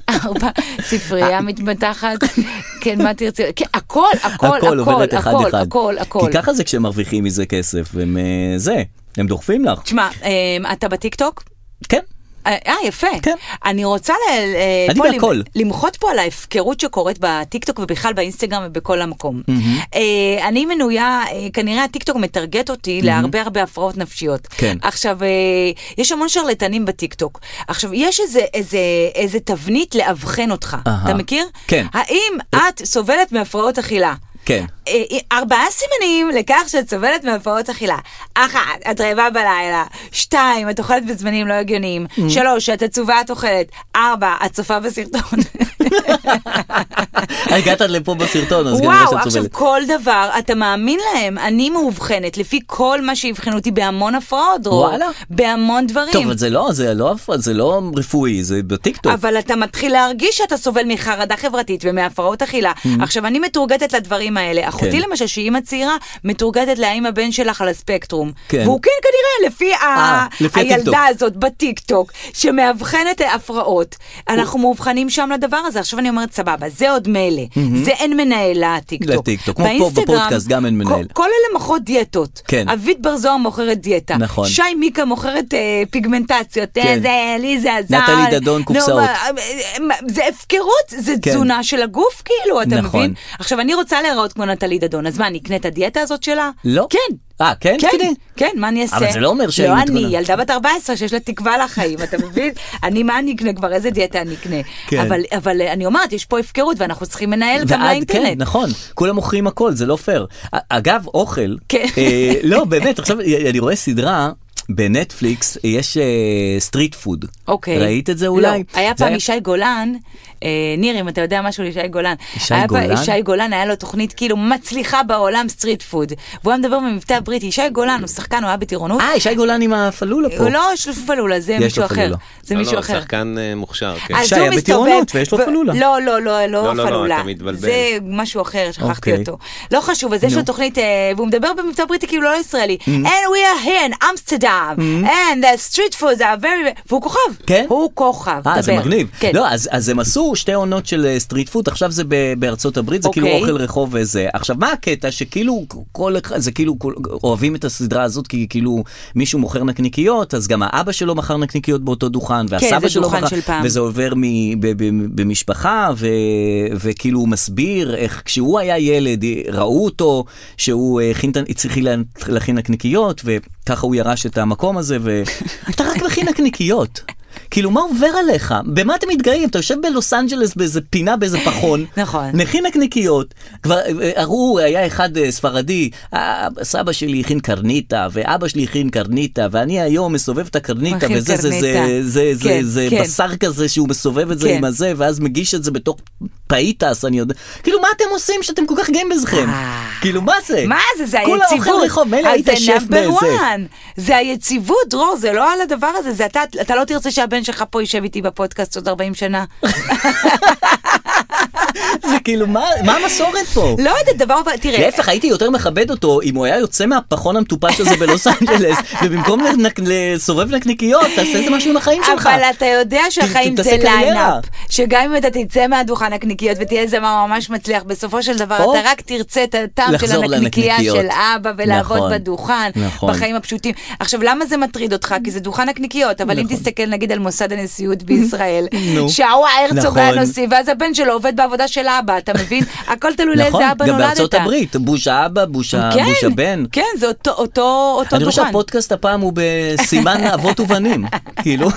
ארבע, אה. ספרייה מתפתחת, כן, מה תרצי, כן, הכל, הכל, הכל הכל, עובדת אחד הכל, אחד. הכל, הכל. כי ככה זה כשהם מרוויחים מזה כסף, הם אה, זה, הם דוחפים לך. תשמע, אה, אתה בטיקטוק? כן. אה, אה, יפה. כן. אני רוצה ל- ל- אני פה למ- בהכל. למחות פה על ההפקרות שקורית בטיקטוק ובכלל באינסטגרם ובכל המקום. אה, אני מנויה, אה, כנראה הטיקטוק מטרגט אותי להרבה הרבה הפרעות נפשיות. כן. עכשיו, אה, יש המון שרלטנים בטיקטוק. עכשיו, יש איזה- איזה- איזה תבנית לאבחן אותך. אהה. אתה מכיר? כן. האם את סובלת מהפרעות אכילה? כן. אה, ארבעה סימנים לכך שאת סובלת מהפרעות אכילה. אחת, את רעבה בלילה. שתיים, את אוכלת בזמנים לא הגיוניים. Mm. שלוש, את עצובה את אוכלת. ארבע, את צופה בסרטון. הגעת לפה בסרטון, אז כנראה וואו, שאת עכשיו סובלת. כל דבר, אתה מאמין להם. אני מאובחנת לפי כל מה שאבחנו אותי בהמון הפרעות, דרור. וואלה. בהמון דברים. טוב, אבל זה לא, זה לא, הפ- זה לא רפואי, זה בטיקטוק. אבל אתה מתחיל להרגיש שאתה סובל מחרדה חברתית ומהפרעות אכילה. עכשיו, אני מתורגטת לדברים האלה. אחותי Mm-hmm. כן. למשל, שהיא אימא צעירה, מתורגטת להאם הבן שלך על הספקטרום. כן. אה, והוא כן כנראה, לפי ה- לפי הטיקטוק. הילדה הזאת בטיקטוק, שמאבחנת הפרעות, אנחנו מאובחנים שם לדבר הזה. עכשיו אני אומרת, סבבה, זה עוד מילא. זה אין מנהל לטיקטוק. Mm-hmm. לטיקטוק, כמו פה באינסטגרם, בפודקאסט, גם אין כל- מנהל. כל אלה מוכרות דיאטות. כן. אביב בר זוהר מוכרת דיאטה. נכון. שי מיקה מוכרת אה, פיגמנטציות. אה, כן. זה ליזה, זה... נטלי דדון, קופסאות. נו, מה, זה הפקרות, זה כן. תזונה של הגוף כאילו, אתה נכון. מבין? עכשיו, אני רוצה להיראות כמו נטלי דדון, אז מה, אני אקנה את הדיאטה הזאת שלה? לא. כן. אה, כן? כן, כדי? כן, מה אני אעשה? אבל זה לא אומר שהיא לא אני, מתכוננת. ילדה בת 14 שיש לה תקווה לחיים, אתה מבין? אני, מה אני אקנה כבר? איזה דיאטה אני אקנה? כן. אבל- אבל אה, אני אומרת, יש פה הפקרות ואנחנו צריכים מנהל גם ועד כן, לאינטרנט. נכון, כולם מוכרים הכל, זה לא פייר. א- אגב, אוכל, כן. אה, לא, באמת, עכשיו אה, אני רואה סדרה. בנטפליקס יש סטריט פוד. אוקיי. ראית את זה אולי? לא, היה זה פעם ישי גולן, אה, ניר, אם אתה יודע משהו על ישי גולן. ישי היה גולן? פעם, ישי גולן, היה לו תוכנית כאילו מצליחה בעולם סטריט פוד. והוא היה מדבר במבטא בריטי. ישי גולן, הוא שחקן, הוא היה בטירונות. אה, ישי גולן עם הפלולה פה. הוא לא שלוף פלולה, זה לו מישהו אחר. פלולה. זה לא, מישהו לא, אחר. שחקן אה, מוכשר, כן. אז שי הוא היה מסתובב, בטירונות ויש לו ו- פלולה. לא, לא, לא, לא לא, לא, פלולה. אתה מתבלבל. זה משהו אחר, שכחתי אוקיי. אותו. לא חשוב, אז יש לו תוכנית, אה, והוא מדבר במבטא בריטי כאילו לא ישראלי. Mm-hmm. And we are here in Amsterdam, and the street foods are very... והוא כוכב. כן? הוא כוכב. אה, זה דבר. מגניב. כן. לא, אז אז הם עשו שתי עונות של סטריט פוד, עכשיו זה ב- בארצות הברית, זה כאילו אוקיי. אוכל רחוב וזה. עכשיו, מה הקטע שכאילו כל אחד, זה כאילו כל- אוהבים את הסדרה הזאת, כי כאילו מישהו מוכר נקניקיות, אז גם האבא שלו מכר נקניקיות באותו דוכן, והסבא כן, זה שלו דוכן מכר, של פעם. וזה עובר מ- ב- ב- במשפחה, ו- וכאילו הוא מסביר איך כשהוא היה ילד, ראו אותו, שהוא אה, הכין את ה- צריך לה- להכין נקניקיות, וככה הוא ירש את המקום הזה, ואתה רק מכין נקניקיות. כאילו, מה עובר עליך? במה אתם מתגאים? אתה יושב בלוס אנג'לס באיזה פינה, באיזה פחון. נכון. מכין נקניקיות. כבר אה, הראו, היה אחד אה, ספרדי, "אה, סבא שלי הכין קרניטה, ואבא שלי הכין קרניטה, ואני היום מסובב את הקרניטה, מכין וזה, זה, זה, קרניטה. זה, זה, כן, זה כן. בשר כזה שהוא מסובב את זה כן. עם הזה, ואז מגיש את זה בתוך פאיטס, אני יודע... כאילו, מה אתם עושים שאתם כל כך גאים בזכם? אה. כאילו, מה זה? מה זה, זה כולה היציבות. אוכל רחוב, מילא אז היית זה שף number באיזה... one. זה היציבות, דרור, זה לא על הדבר הזה, זה אתה, אתה לא תרצה שהבן שלך פה יישב איתי בפודקאסט עוד 40 שנה. זה כאילו, מה מה המסורת פה? לא יודעת, דבר, תראה. להפך, הייתי יותר מכבד אותו אם הוא היה יוצא מהפחון המטופש הזה בלוס אנג'לס, ובמקום לנק- לסובב נקניקיות, תעשה איזה משהו עם החיים שלך. אבל אתה יודע שהחיים ת- זה תעשה קריירה. ליינאפ, שגם אם אתה תצא מהדוכן נקניקיות ותהיה זמר ממש מצליח, בסופו של דבר או אתה רק תרצה את הטעם של לחזור הנקניקייה לנקניקיות. של אבא נכון, ולעבוד בדוכן, נכון. בחיים הפשוטים. עכשיו, למה זה מטריד אותך? כי זה דוכן נקניקיות, אבל אם תסתכל נגיד על מוסד הנשיאות בישראל, נכון. נו. שההוא הרצוג היה נכון. נשיא, ואז הבן שלו עובד בעבודה של אבא, אתה מבין? הכל תלוי נכון, לאיזה אבא גם נולדת. בארצות הברית, בוש האבא, בוש ה- כן, בוש הבן. כן, זה אותו- אותו אותו אני חושב דוכן. שהפודקאסט הפעם הוא בסימן אבות ובנים, כאילו,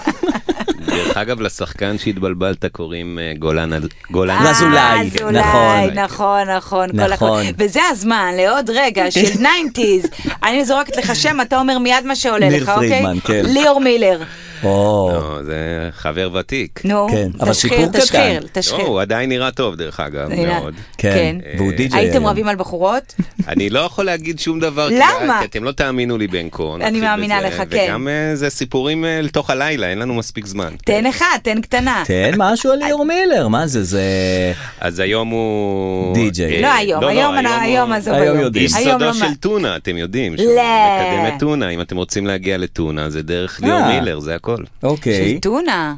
דרך אגב, לשחקן שהתבלבלת קוראים אה, גולן אל- גולן. אה, לאזולאי, אזולאי, נכון. נכון, נכון, כל נכון. הכל. וזה הזמן לעוד רגע של 90's. אני זורקת לך שם, אתה אומר מיד מה שעולה ניר לך, אוקיי? פרידמן, כן. ליאור מילר. או, לא, זה חבר ותיק. נו, כן, אבל תשחיר, סיפור קטן. תשחיר, לא, תשחיר. הוא עדיין נראה טוב, דרך אגב, הנה. מאוד. כן, כן. והוא די.ג'יי. הייתם היום. רבים על בחורות? אני לא יכול להגיד שום דבר. כי- למה? כי אתם לא תאמינו לי בין כה. נתחיל אני מאמינה בזה. לך, כן. וגם אה, זה סיפורים אה, לתוך הלילה, אין לנו מספיק זמן. תן אחד, תן קטנה. תן כן, משהו על ליאור מילר, מה זה, זה... אז היום הוא... די-ג'יי. אה, לא היום, לא, היום, הוא- היום, עזוב היום היום. יודעים. איש היום סודו לא של מה- טונה, אתם יודעים. שהוא לא. מקדם את טונה, אם אתם רוצים להגיע לטונה, זה דרך ליאור אה. מילר, זה הכל. אוקיי. של טונה.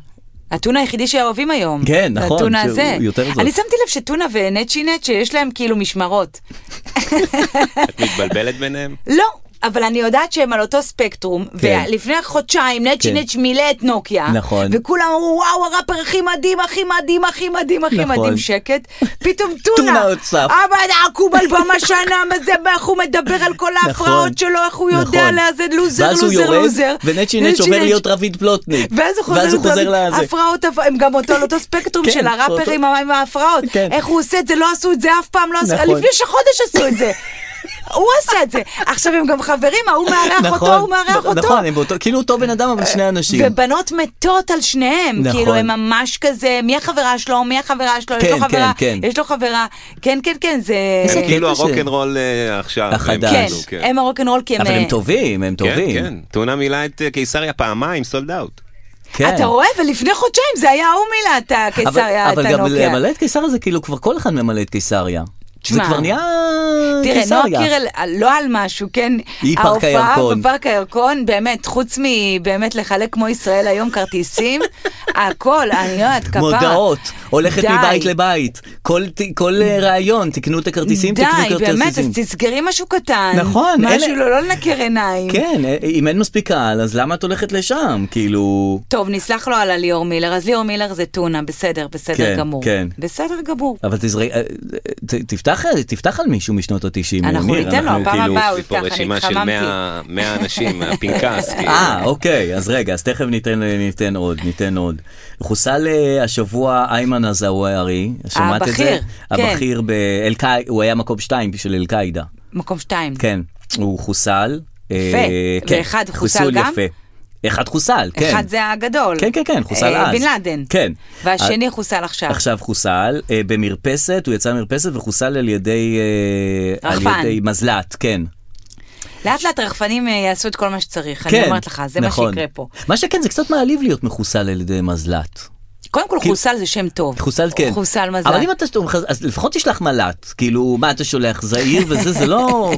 הטונה היחידי שאוהבים היום. כן, זה נכון, הטונה שהוא הזה. יותר זול. אני שמתי לב שטונה ונצ'י נצ'י, יש להם כאילו משמרות. את מתבלבלת ביניהם? לא. אבל אני יודעת שהם על אותו ספקטרום, כן. ולפני חודשיים נצ'י כן. נצ' מילא את נוקיה, נכון. וכולם אמרו וואו הראפר הכי מדהים, הכי מדהים, הכי מדהים, הכי נכון. מדהים, שקט, פתאום טונה טונה, עוד צף. אבא עקוב על במה שנה, מה זה, איך הוא מדבר על כל ההפרעות שלו, איך הוא יודע נכון. לאזן לוזר, ואז הוא לוזר, יורד, לוזר, ונצ'י נץ' עובר להיות רביד פלוטניק. ואז הוא חוזר, ואז הוא חוזר לטראמפ. לזה. הפרעות, הפ- הם גם אותו, על אותו ספקטרום כן, של הראפרים עם ההפרעות. כן. איך הוא עושה את זה, לא עשו את זה אף פעם, לא עשו, נכון. לפני שחודש עשו את זה. הוא עשה את זה. עכשיו הם גם חברים, ההוא מארח אותו, הוא מארח נכון, אותו. נכון, הם באותו, כאילו אותו בן אדם אבל שני אנשים. ובנות מתות על שניהם, נכון. כאילו הם ממש כזה, מי החברה שלו, מי החברה שלו, יש כן, לו חברה, כן, כן. יש לו חברה, כן, כן, כן, זה... איזה הם כאילו קטע ש- הרוקנרול אה, עכשיו. הם החדש. כן, כאילו, כן. הם הרוקנרול כי הם... אבל הם טובים, הם כן, טובים. כן. טונה מילא את אה, קיסריה פעמיים, סולד אאוט. כן. אתה רואה, ולפני חודשיים זה היה ההוא מילה, את הקיסריה, את אבל, אבל גם הנוקיה. למלא את קיסריה זה כאילו כבר כל אחד ממלא את קיסריה. זה תשמע, כבר נהיה תראה, נועה קיסריה. קירל, לא על משהו, כן? היא פארק הירקון. בפארק הירקון, באמת, חוץ מבאמת לחלק כמו ישראל היום כרטיסים, הכל, אני לא יודעת, כפרה. מודעות, הולכת די. מבית לבית. כל, כל ראיון, תקנו את הכרטיסים, די, תקנו כרטיסים. באמת, אז תסגרי משהו קטן. נכון, משהו, אין- לא לא לנקר עיניים. כן, אם אין מספיק קהל, אז למה את הולכת לשם? כאילו... טוב, נסלח לו על הליאור מילר, אז ליאור מילר זה טונה, בסדר, בסדר כן, גמור. כן. בסדר גמור. אבל תזרק, תפתח, אה, תפתח על מישהו משנות התשעים. כאילו- אנחנו ניתן לו, הפעם הבאה הוא יש לי יפתח, פה אה, אני רשימה של התחממתי. 100 100 אנשים מהפנקס. כאילו. אה, אוקיי, אז רגע, אז תכף ניתן, ניתן עוד, ניתן עוד. חוסל אה, השבוע איימן עזאווארי, שמעת את זה? הבכיר, כן. הבכיר באל-קאי, הוא היה מקום שתיים של אל-קאעידה, מקום שתיים. כן. הוא חוסל. יפה. אה, כן, ואחד חוסל חיסול גם? יפה. אחד חוסל, כן. אחד זה הגדול. כן, כן, כן, חוסל אה, אז. בן לאדן. כן. והשני חוסל עכשיו. עכשיו חוסל אה, במרפסת, הוא יצא ממרפסת וחוסל על ידי... אה, רחפן. על ידי מזל"ט, כן. לאט לאט רחפנים אה, יעשו את כל מה שצריך, כן, אני אומרת לך, זה נכון. מה שיקרה פה. מה שכן, זה קצת מעליב להיות מחוסל על ידי מזל"ט. קודם כל כאילו- חוסל זה שם טוב. חוסל כן. חוסל מזל. אבל אם אתה, אז לפחות תשלח מל"ט, כאילו, מה אתה שולח, זעיר וזה, זה לא...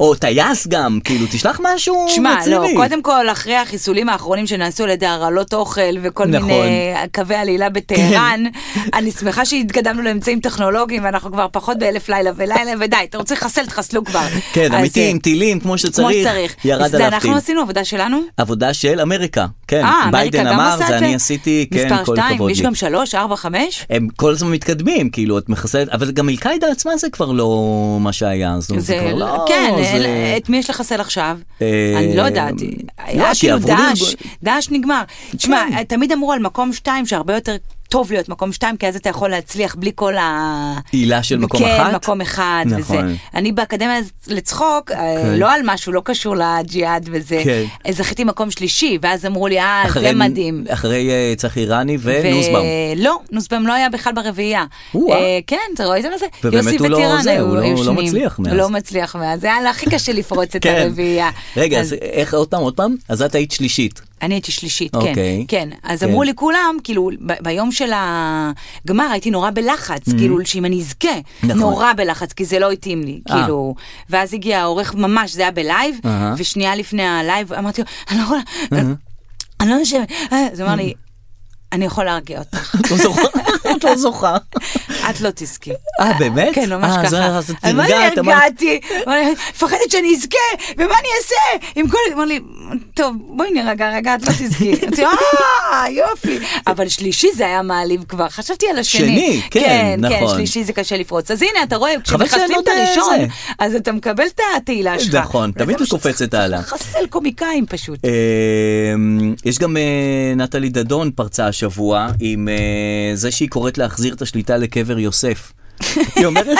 או טייס גם, כאילו, תשלח משהו תשמע, רציני. לא, קודם כל, אחרי החיסולים האחרונים שנעשו על ידי הרעלות אוכל וכל נכון. כן. מיני אה, קווי עלילה בטהרן, אני שמחה שהתקדמנו לאמצעים טכנולוגיים, ואנחנו כבר פחות באלף לילה ולילה, ודי, אתה רוצה לחסל, תחסלו כבר. כן, אז, אמיתי, אה, עם טילים, כמו כמו שצריך. שצריך. ירד זה עליו טיל. אנחנו עשינו עבודה שלנו? עבודה של אמריקה, כן. אה, ביידן אמריקה גם אמר, עושה את זה זה? אני עשיתי, כן, מספר כל שתיים, כבוד יש לי. גם שלוש, ארבע, חמש? הם כל הזמן מתקדמים, כאילו, את מחסלת, אבל גם אל-קאידה עצמה זה כבר לא מה שהיה, אז זה כבר לא... כן, זה- אל- את מי יש לחסל עכשיו? אה, אני לא יודעת. לא, היה כי כן. כאילו עברו לארגון- דאעש, דאעש נגמר. תשמע, תמיד אמרו על מקום שתיים שהרבה יותר טוב להיות מקום שתיים, כי אז אתה יכול להצליח בלי כל ה... עילה של מקום כן, אחת? כן, מקום אחד. נכון. אוקיי. וזה. אני באקדמיה לצחוק, אה, לא על משהו, לא קשור לג'יהאד וזה. כן. אה, זכיתי מקום שלישי, ואז אמרו לי, אה, זה מדהים. אחרי אה, צחי רני ונוסבאום. לא, נוסבאום לא היה בכלל ברביעייה. או-אה. אה, כן, אתה רואה את זה? ובאמת יוסי הוא לא וטירן זה, הוא היו לא- היו הוא לא שונים. מצליח מאז. כן. הוא לא מצליח מאז. זה היה לה הכי קשה לפרוץ את הרביעייה. רגע, אז איך, עוד פעם, עוד פעם? אז את היית שלישית. אני הייתי שלישית, כן. אוקיי. כן, אז כן. אמרו לי כולם, כאילו, ב- ביום של הגמר הייתי נורא בלחץ, כאילו, שאם אני אזכה, Mm-hmm. נכון. נורא בלחץ, כי זה לא התאים לי, אה. כאילו. ואז הגיע העורך ממש, זה היה בלייב, אהה. ושנייה לפני הלייב אמרתי לו, אני לא יכולה, אני לא יושבת, אה, אז הוא אמר לי, אני יכול להרגיע אותך, את לא זוכרת. את לא זוכרת. את לא תזכי. אה, באמת? כן, ממש אה, אז- ככה. אז את על מה אני נרגעת, אמרת- הרגעתי? אמר לי, מפחדת שאני אזכה, ומה אני אעשה? עם כל... אמר לי, טוב, בואי נירגע רגע, את לא תזכי. אמרתי, אה, יופי. אבל שלישי זה היה מעליב כבר, חשבתי על השני. שני, כן, כן, נכון. כן, שלישי זה קשה לפרוץ. אז הנה, אתה רואה, חבל כשמחסלים שאני את לא יודע הראשון, את אז אתה מקבל את התהילה שלך. נכון, וזה תמיד מה הוא קופץ שצריך את העלה. לחסל קומיקאים פשוט. אמ, יש גם אה, נטלי דדון פרצה השבוע עם אה, זה שהיא קוראת להחזיר את השליטה לקבר יוסף. היא אומרת...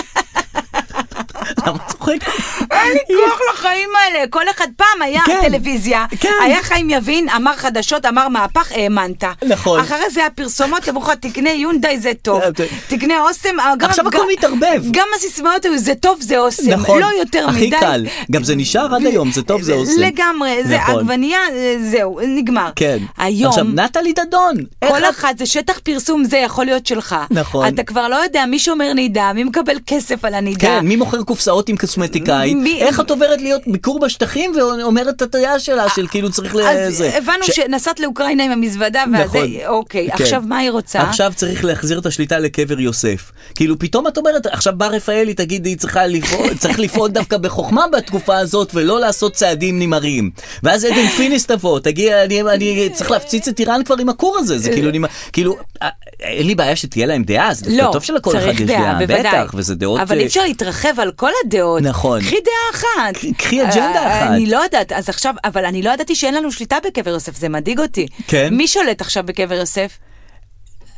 למה את צוחקת? אין לי כוח לחיים האלה, כל אחד פעם היה כן, טלוויזיה, כן. היה חיים יבין, אמר חדשות, אמר מהפך, האמנת. נכון. אחרי זה הפרסומות אמרו לך, תקנה יונדאי זה טוב, אה, ת- תקנה אוסם, אה, גם- עכשיו הכל גם- מתערבב. גם הסיסמאות היו זה טוב זה אוסם, נכון. לא יותר מדי. הכי קל. גם זה נשאר עד היום, זה טוב, זה אוסם. לגמרי, זה נכון. עגבנייה, אה, זהו, נגמר. כן. היום... עכשיו, נטלי דדון. איך כל אחת זה שטח פרסום זה יכול להיות שלך. נכון. אתה כבר לא יודע מי שומר נידה, מי מקבל כסף על הנידה. כן, מי מוכר קופסאות עם קוסמטיקאית? מי- איך את עוברת להיות ביקור בשטחים ואומרת את הדעה שלה של כאילו צריך אה, אז לזה? הבנו ש- שנסעת לאוקראינה עם המזוודה, ואז נכון. זה- אוקיי, כן. עכשיו מה היא רוצה? עכשיו צריך להחזיר את השליטה לקבר יוסף. כאילו פתאום את אומרת, עכשיו בר רפאלי תגיד, היא צריכה לפעול, צריך לפעול דווקא בחוכמה בתקופה הזאת ולא לעשות צעדים נמהרים. ואז עדן פיניס תבוא, תגיע, אני, אני צריך להפציץ את איראן כבר עם הכור הזה, זה כאילו, נמ- כאילו, אה, אין לי בעיה שתהיה להם דעה, אז דווקא לא, טוב שלכל אחד צריך יש דעה, דעה, בוודאי. בטח, וזה דעות... אבל אי אה, אפשר להתרחב על כל הדעות. נכון. קחי דעה אחת. ק- קחי אג'נדה אה, אחת. אני לא יודעת, אז עכשיו, אבל אני לא ידעתי שאין לנו שליטה בקבר יוסף, זה מדאיג אותי. כן? מי שולט עכשיו בקבר יוסף?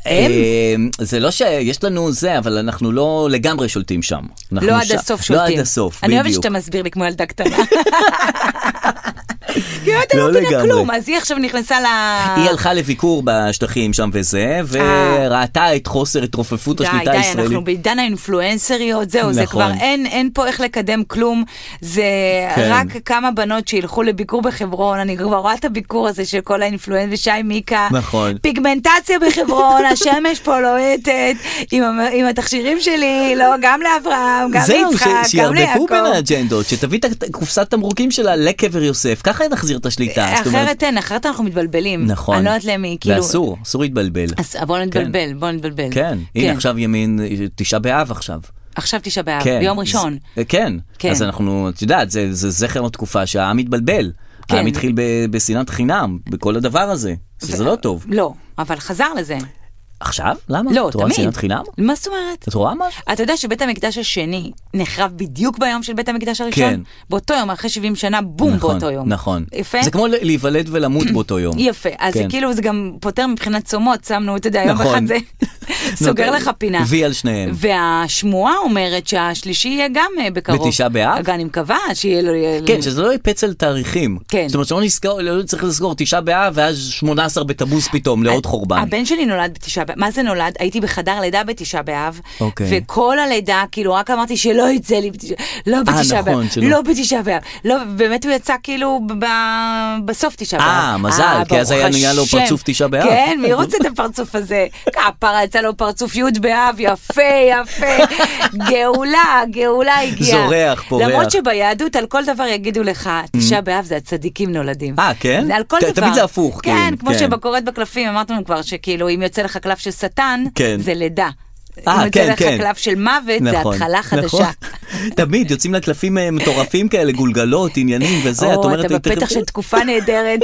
הם? הם? זה לא שיש לנו זה, אבל אנחנו לא לגמרי שולטים שם. אנחנו לא עד שם- הסוף שולטים. לא עד הסוף, אני בדיוק. אוהבת שאתה מסביר לי כמו ילדה קטנה. כאילו אתה לא לא מבינה לגמרי. כלום, אז היא עכשיו נכנסה ל... היא הלכה לביקור בשטחים שם וזה, וראתה את חוסר התרופפות אה. די, השליטה די, אנחנו הישראלית. בעידן האינפלואנסריות, זהו, זה נכון. כבר אין, אין פה איך לקדם כלום, זה כן. רק כמה בנות שילכו לביקור בחברון, אני כבר רואה את הביקור הזה של כל האינפלואנס ושי מיקה, נכון. פיגמנטציה בחברון, השמש פה לוהטת, עם, המ- עם התכשירים שלי, לא, גם לאברהם, גם זהו, ש- ליצחק, גם שיערבבו ליעקב. בין האג'נדות, שתביא את הת- קופסת תמרוקים שלה לקבר יוסף, ככה היא נחזיר את השליטה. זאת אומרת- אחרת אין, אחרת אנחנו מתבלבלים. נכון. אני לא יודעת למי, כאילו. ואסור, אסור להתבלבל. אז בוא נתבלבל, בוא נתבלבל. כן, הנה עכשיו ימין, תשעה באב עכשיו. עכשיו תשעה באב, כן. אה, ביום ראשון. זה- כן. כן. אז אנחנו, את יודעת, זה, זה זכר לתקופה שהעם התבלבל. כן. העם התחיל ב- בשנאת חינם, בכל הדבר הזה, שזה לא טוב. לא, אבל חזר לזה. עכשיו? למה? לא, את רואה תמיד. שנאת חינם? מה זאת אומרת? את רואה משהו? אתה יודע שבית המקדש השני נחרב בדיוק ביום של בית המקדש הראשון? כן. באותו יום, אחרי 70 שנה, בום, נכון, באותו יום. נכון. יפה? זה כמו ל- להיוולד ולמות באותו יום. יפה, אז כן. זה כאילו זה גם פותר מבחינת צומות, שמנו, אתה יודע, יום נכון. אחד זה סוגר נו, לך פינה. וי על שניהם. והשמועה אומרת שהשלישי יהיה גם אה, בקרוב. בתשעה באב? גם אני מקווה שיהיה לו... כן, שזה לא יהיה פצל תאריכים. כן. זאת אומרת, שלא נזכור, לא צריך לסגור תשעה באב ואז 18 בתמוז פתאום, לעוד חורבן. אה, הבן שלי נולד בתשעה באב, מה זה נולד? הייתי בחדר לידה בתשעה באב, אוקיי. וכל הלידה, כאילו, רק אמרתי שלא יצא לי בתשעה, לא בתשעה באב, נכון, שלא. לא בתשעה באב, לא, באמת הוא יצא כאילו ב- ב- בסוף תשעה באב. אה, מזל, כי ברוך אז היה נהיה לו השם. פרצוף תשעה באב. כן, מי רוצה את הפרצוף הזה? כפרה יצא לו פרצוף י' באב, יפה, יפה, גאולה, גאולה הגיעה. זורח, פורח. למרות שביהדות על כל דבר יגידו לך, תשעה באב זה הצדיקים נולדים. אה, כן? זה על כל ת- דבר. תמיד זה הפוך, כן, כאילו, כמו כן. שבקורת בקלפים אמרת לנו כבר שכאילו אם יוצא לך קלף של שטן, כן. זה לידה. אה, אם כן, יוצא לך כן. קלף של מוות, זה נכון, התחלה נכון. חדשה. תמיד יוצאים לה קלפים אה, מטורפים כאלה, גולגלות, עניינים וזה, את או, אומרת... אתה "אני תכף-" בפתח של תקופה נהדרת.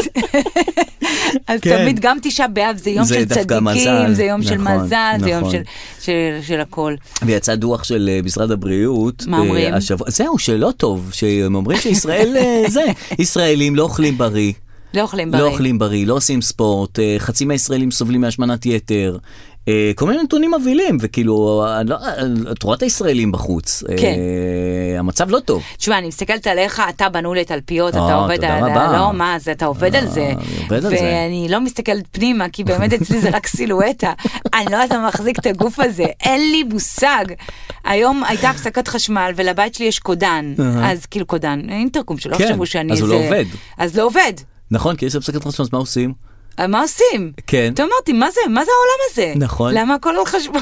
אז כן. תמיד גם תשעה באב זה יום זה של דווקא צדיקים, מזל, זה יום של נכון, מזל, זה יום נכון. של- של- של הכל. ויצא דוח של אה, משרד הבריאות. מה אה, אומרים? השבוע, זהו, שלא טוב, שהם אומרים שישראל אה, זה, ישראלים לא אוכלים בריא. לא אוכלים בריא. לא אוכלים בריא, לא עושים ספורט, אה, חצי מהישראלים סובלים מהשמנת יתר, אה, כל מיני נתונים מבהילים, וכאילו, אני לא- את רואה את הישראלים בחוץ. אה, כן. המצב לא טוב. תשמע, אני מסתכלת עליך, אתה בנוי לתלפיות, אתה אה, עובד תודה על... רבה. לא, מה זה, אתה עובד אה, על זה. אני עובד על זה. ואני לא מסתכלת פנימה, כי באמת אצלי זה רק סילואטה. אני לא יודעת מה מחזיק את הגוף הזה, אין לי מושג. היום הייתה הפסקת חשמל, ולבית שלי יש קודן. אז כאילו קודן, אינטרקום, שלא כן, יחשבו שאני אז איזה... הוא לא עובד. אז לא עובד. נכון, כי יש הפסקת חשמל, אז מה עושים? אז מה עושים? כן. אתה אמרתי, מה זה, מה זה העולם הזה? נכון. למה הכל על חשמל?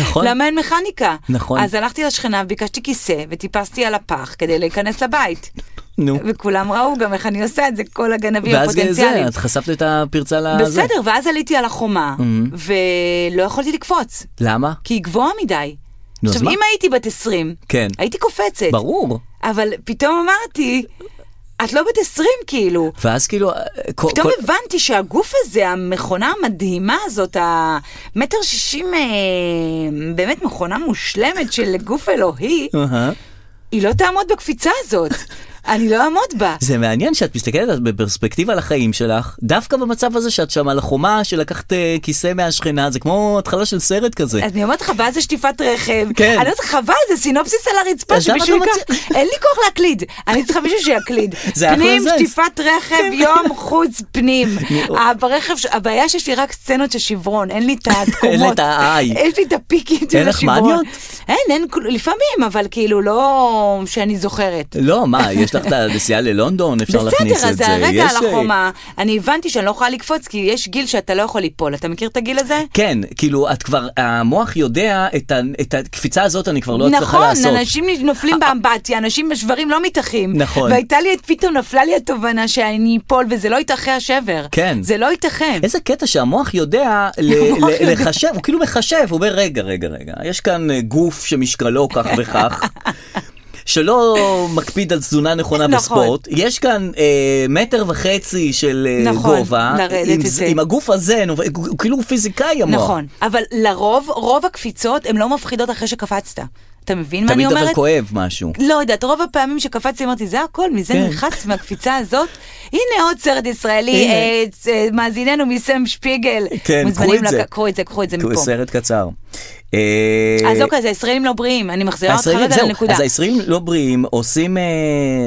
נכון. למה אין מכניקה? נכון. אז הלכתי לשכנה וביקשתי כיסא, וטיפסתי על הפח כדי להיכנס לבית. אה, נו. וכולם ראו גם איך אני עושה את זה, כל הגנבים ואז כן, הפוטנציאליים. זה, את חשפת את Mm-hmm. הפרצה לזה. בסדר, ואז עליתי על החומה, ולא יכולתי לקפוץ, למה? כי היא גבוהה מדי. נו, אז עכשיו, מה? אם הייתי בת 20, כן. הייתי קופצת. ברור. אבל פתאום אמרתי, את לא בת 20 כאילו. ואז כאילו, אה, כל- פתאום כל- הבנתי שהגוף הזה, המכונה המדהימה הזאת, המטר שישים, אה, באמת מכונה מושלמת של גוף אלוהי, אהה. היא לא תעמוד בקפיצה הזאת. אני לא אעמוד בה. זה מעניין שאת מסתכלת על- בפרספקטיבה על החיים שלך, דווקא במצב הזה שאת שם על החומה שלקחת אה, כיסא מהשכנה, זה כמו התחלה של סרט כזה. אז אני אומרת לך, ואז זה שטיפת רכב. כן. אני אומרת לך, חבל, זה סינופסיס על הרצפה אז למה שמישהו אתה ייקח. אין לי כוח להקליד. אני צריכה מישהו שיקליד. זה כן. אחלה פנים, זז. שטיפת רכב, יום, חוץ, פנים. ה- ברכב, ש- הבעיה שיש לי רק סצנות של שברון, אין לי את התקומות. אין לי את ה-I. יש לי את הפיקים של אין לך השברון. מניות? אין, אין, כל- לפעמים, אבל כאילו, לא שאני זוכרת. לא, מה, יש לך את הנסיעה ללונדון, אפשר להכניס בסדר, את אז זה. הרגע יש, על אה, החומה, אני הבנתי שאני לא יכולה לקפוץ, כי יש גיל שאתה לא יכול ליפול. אתה מכיר את הגיל הזה? כן, כאילו, את כבר, המוח יודע, את, ה, את הקפיצה הזאת אני כבר לא נכון, הצלחה לעשות. אנשים נופלים באמבטיה, אנשים בשברים לא מתאחים. נכון. והייתה לי, פתאום נפלה לי התובנה שאני אפול וזה לא יתאחה השבר. כן. זה לא ייתכן. איזה קטע שהמוח יודע ל- המוח ל- יודע. לחשב, הוא כאילו מחשב, הוא אומר, רגע, רגע, רגע, יש כאן אה, גוף שמשקלו כך וכך. שלא מקפיד על תזונה נכונה נכון. וספורט, יש כאן אה, מטר וחצי של אה, נכון, גובה, לרדת עם, את ז- זה. עם הגוף הזה, נו, הוא, הוא כאילו פיזיקאי המוח. נכון. אבל לרוב, רוב הקפיצות הן לא מפחידות אחרי שקפצת. אתה מבין מה אני תמיד אומרת? אבל כואב משהו. לא יודעת, רוב הפעמים שקפצתי אמרתי, זה הכל, מזה כן. נלחץ מהקפיצה הזאת. הנה עוד סרט ישראלי, הנה. אה, צ- אה, מאזיננו מסם שפיגל. כן, מוזמנים קחו את זה. לק- קחו את זה, קחו את זה כי הוא מפה. סרט קצר. אה, אז אוקיי, אז הישראלים לא בריאים, אני מחזירה אותך הישראלים, רגע זהו, לנקודה. אז הישראלים לא בריאים, עושים אה,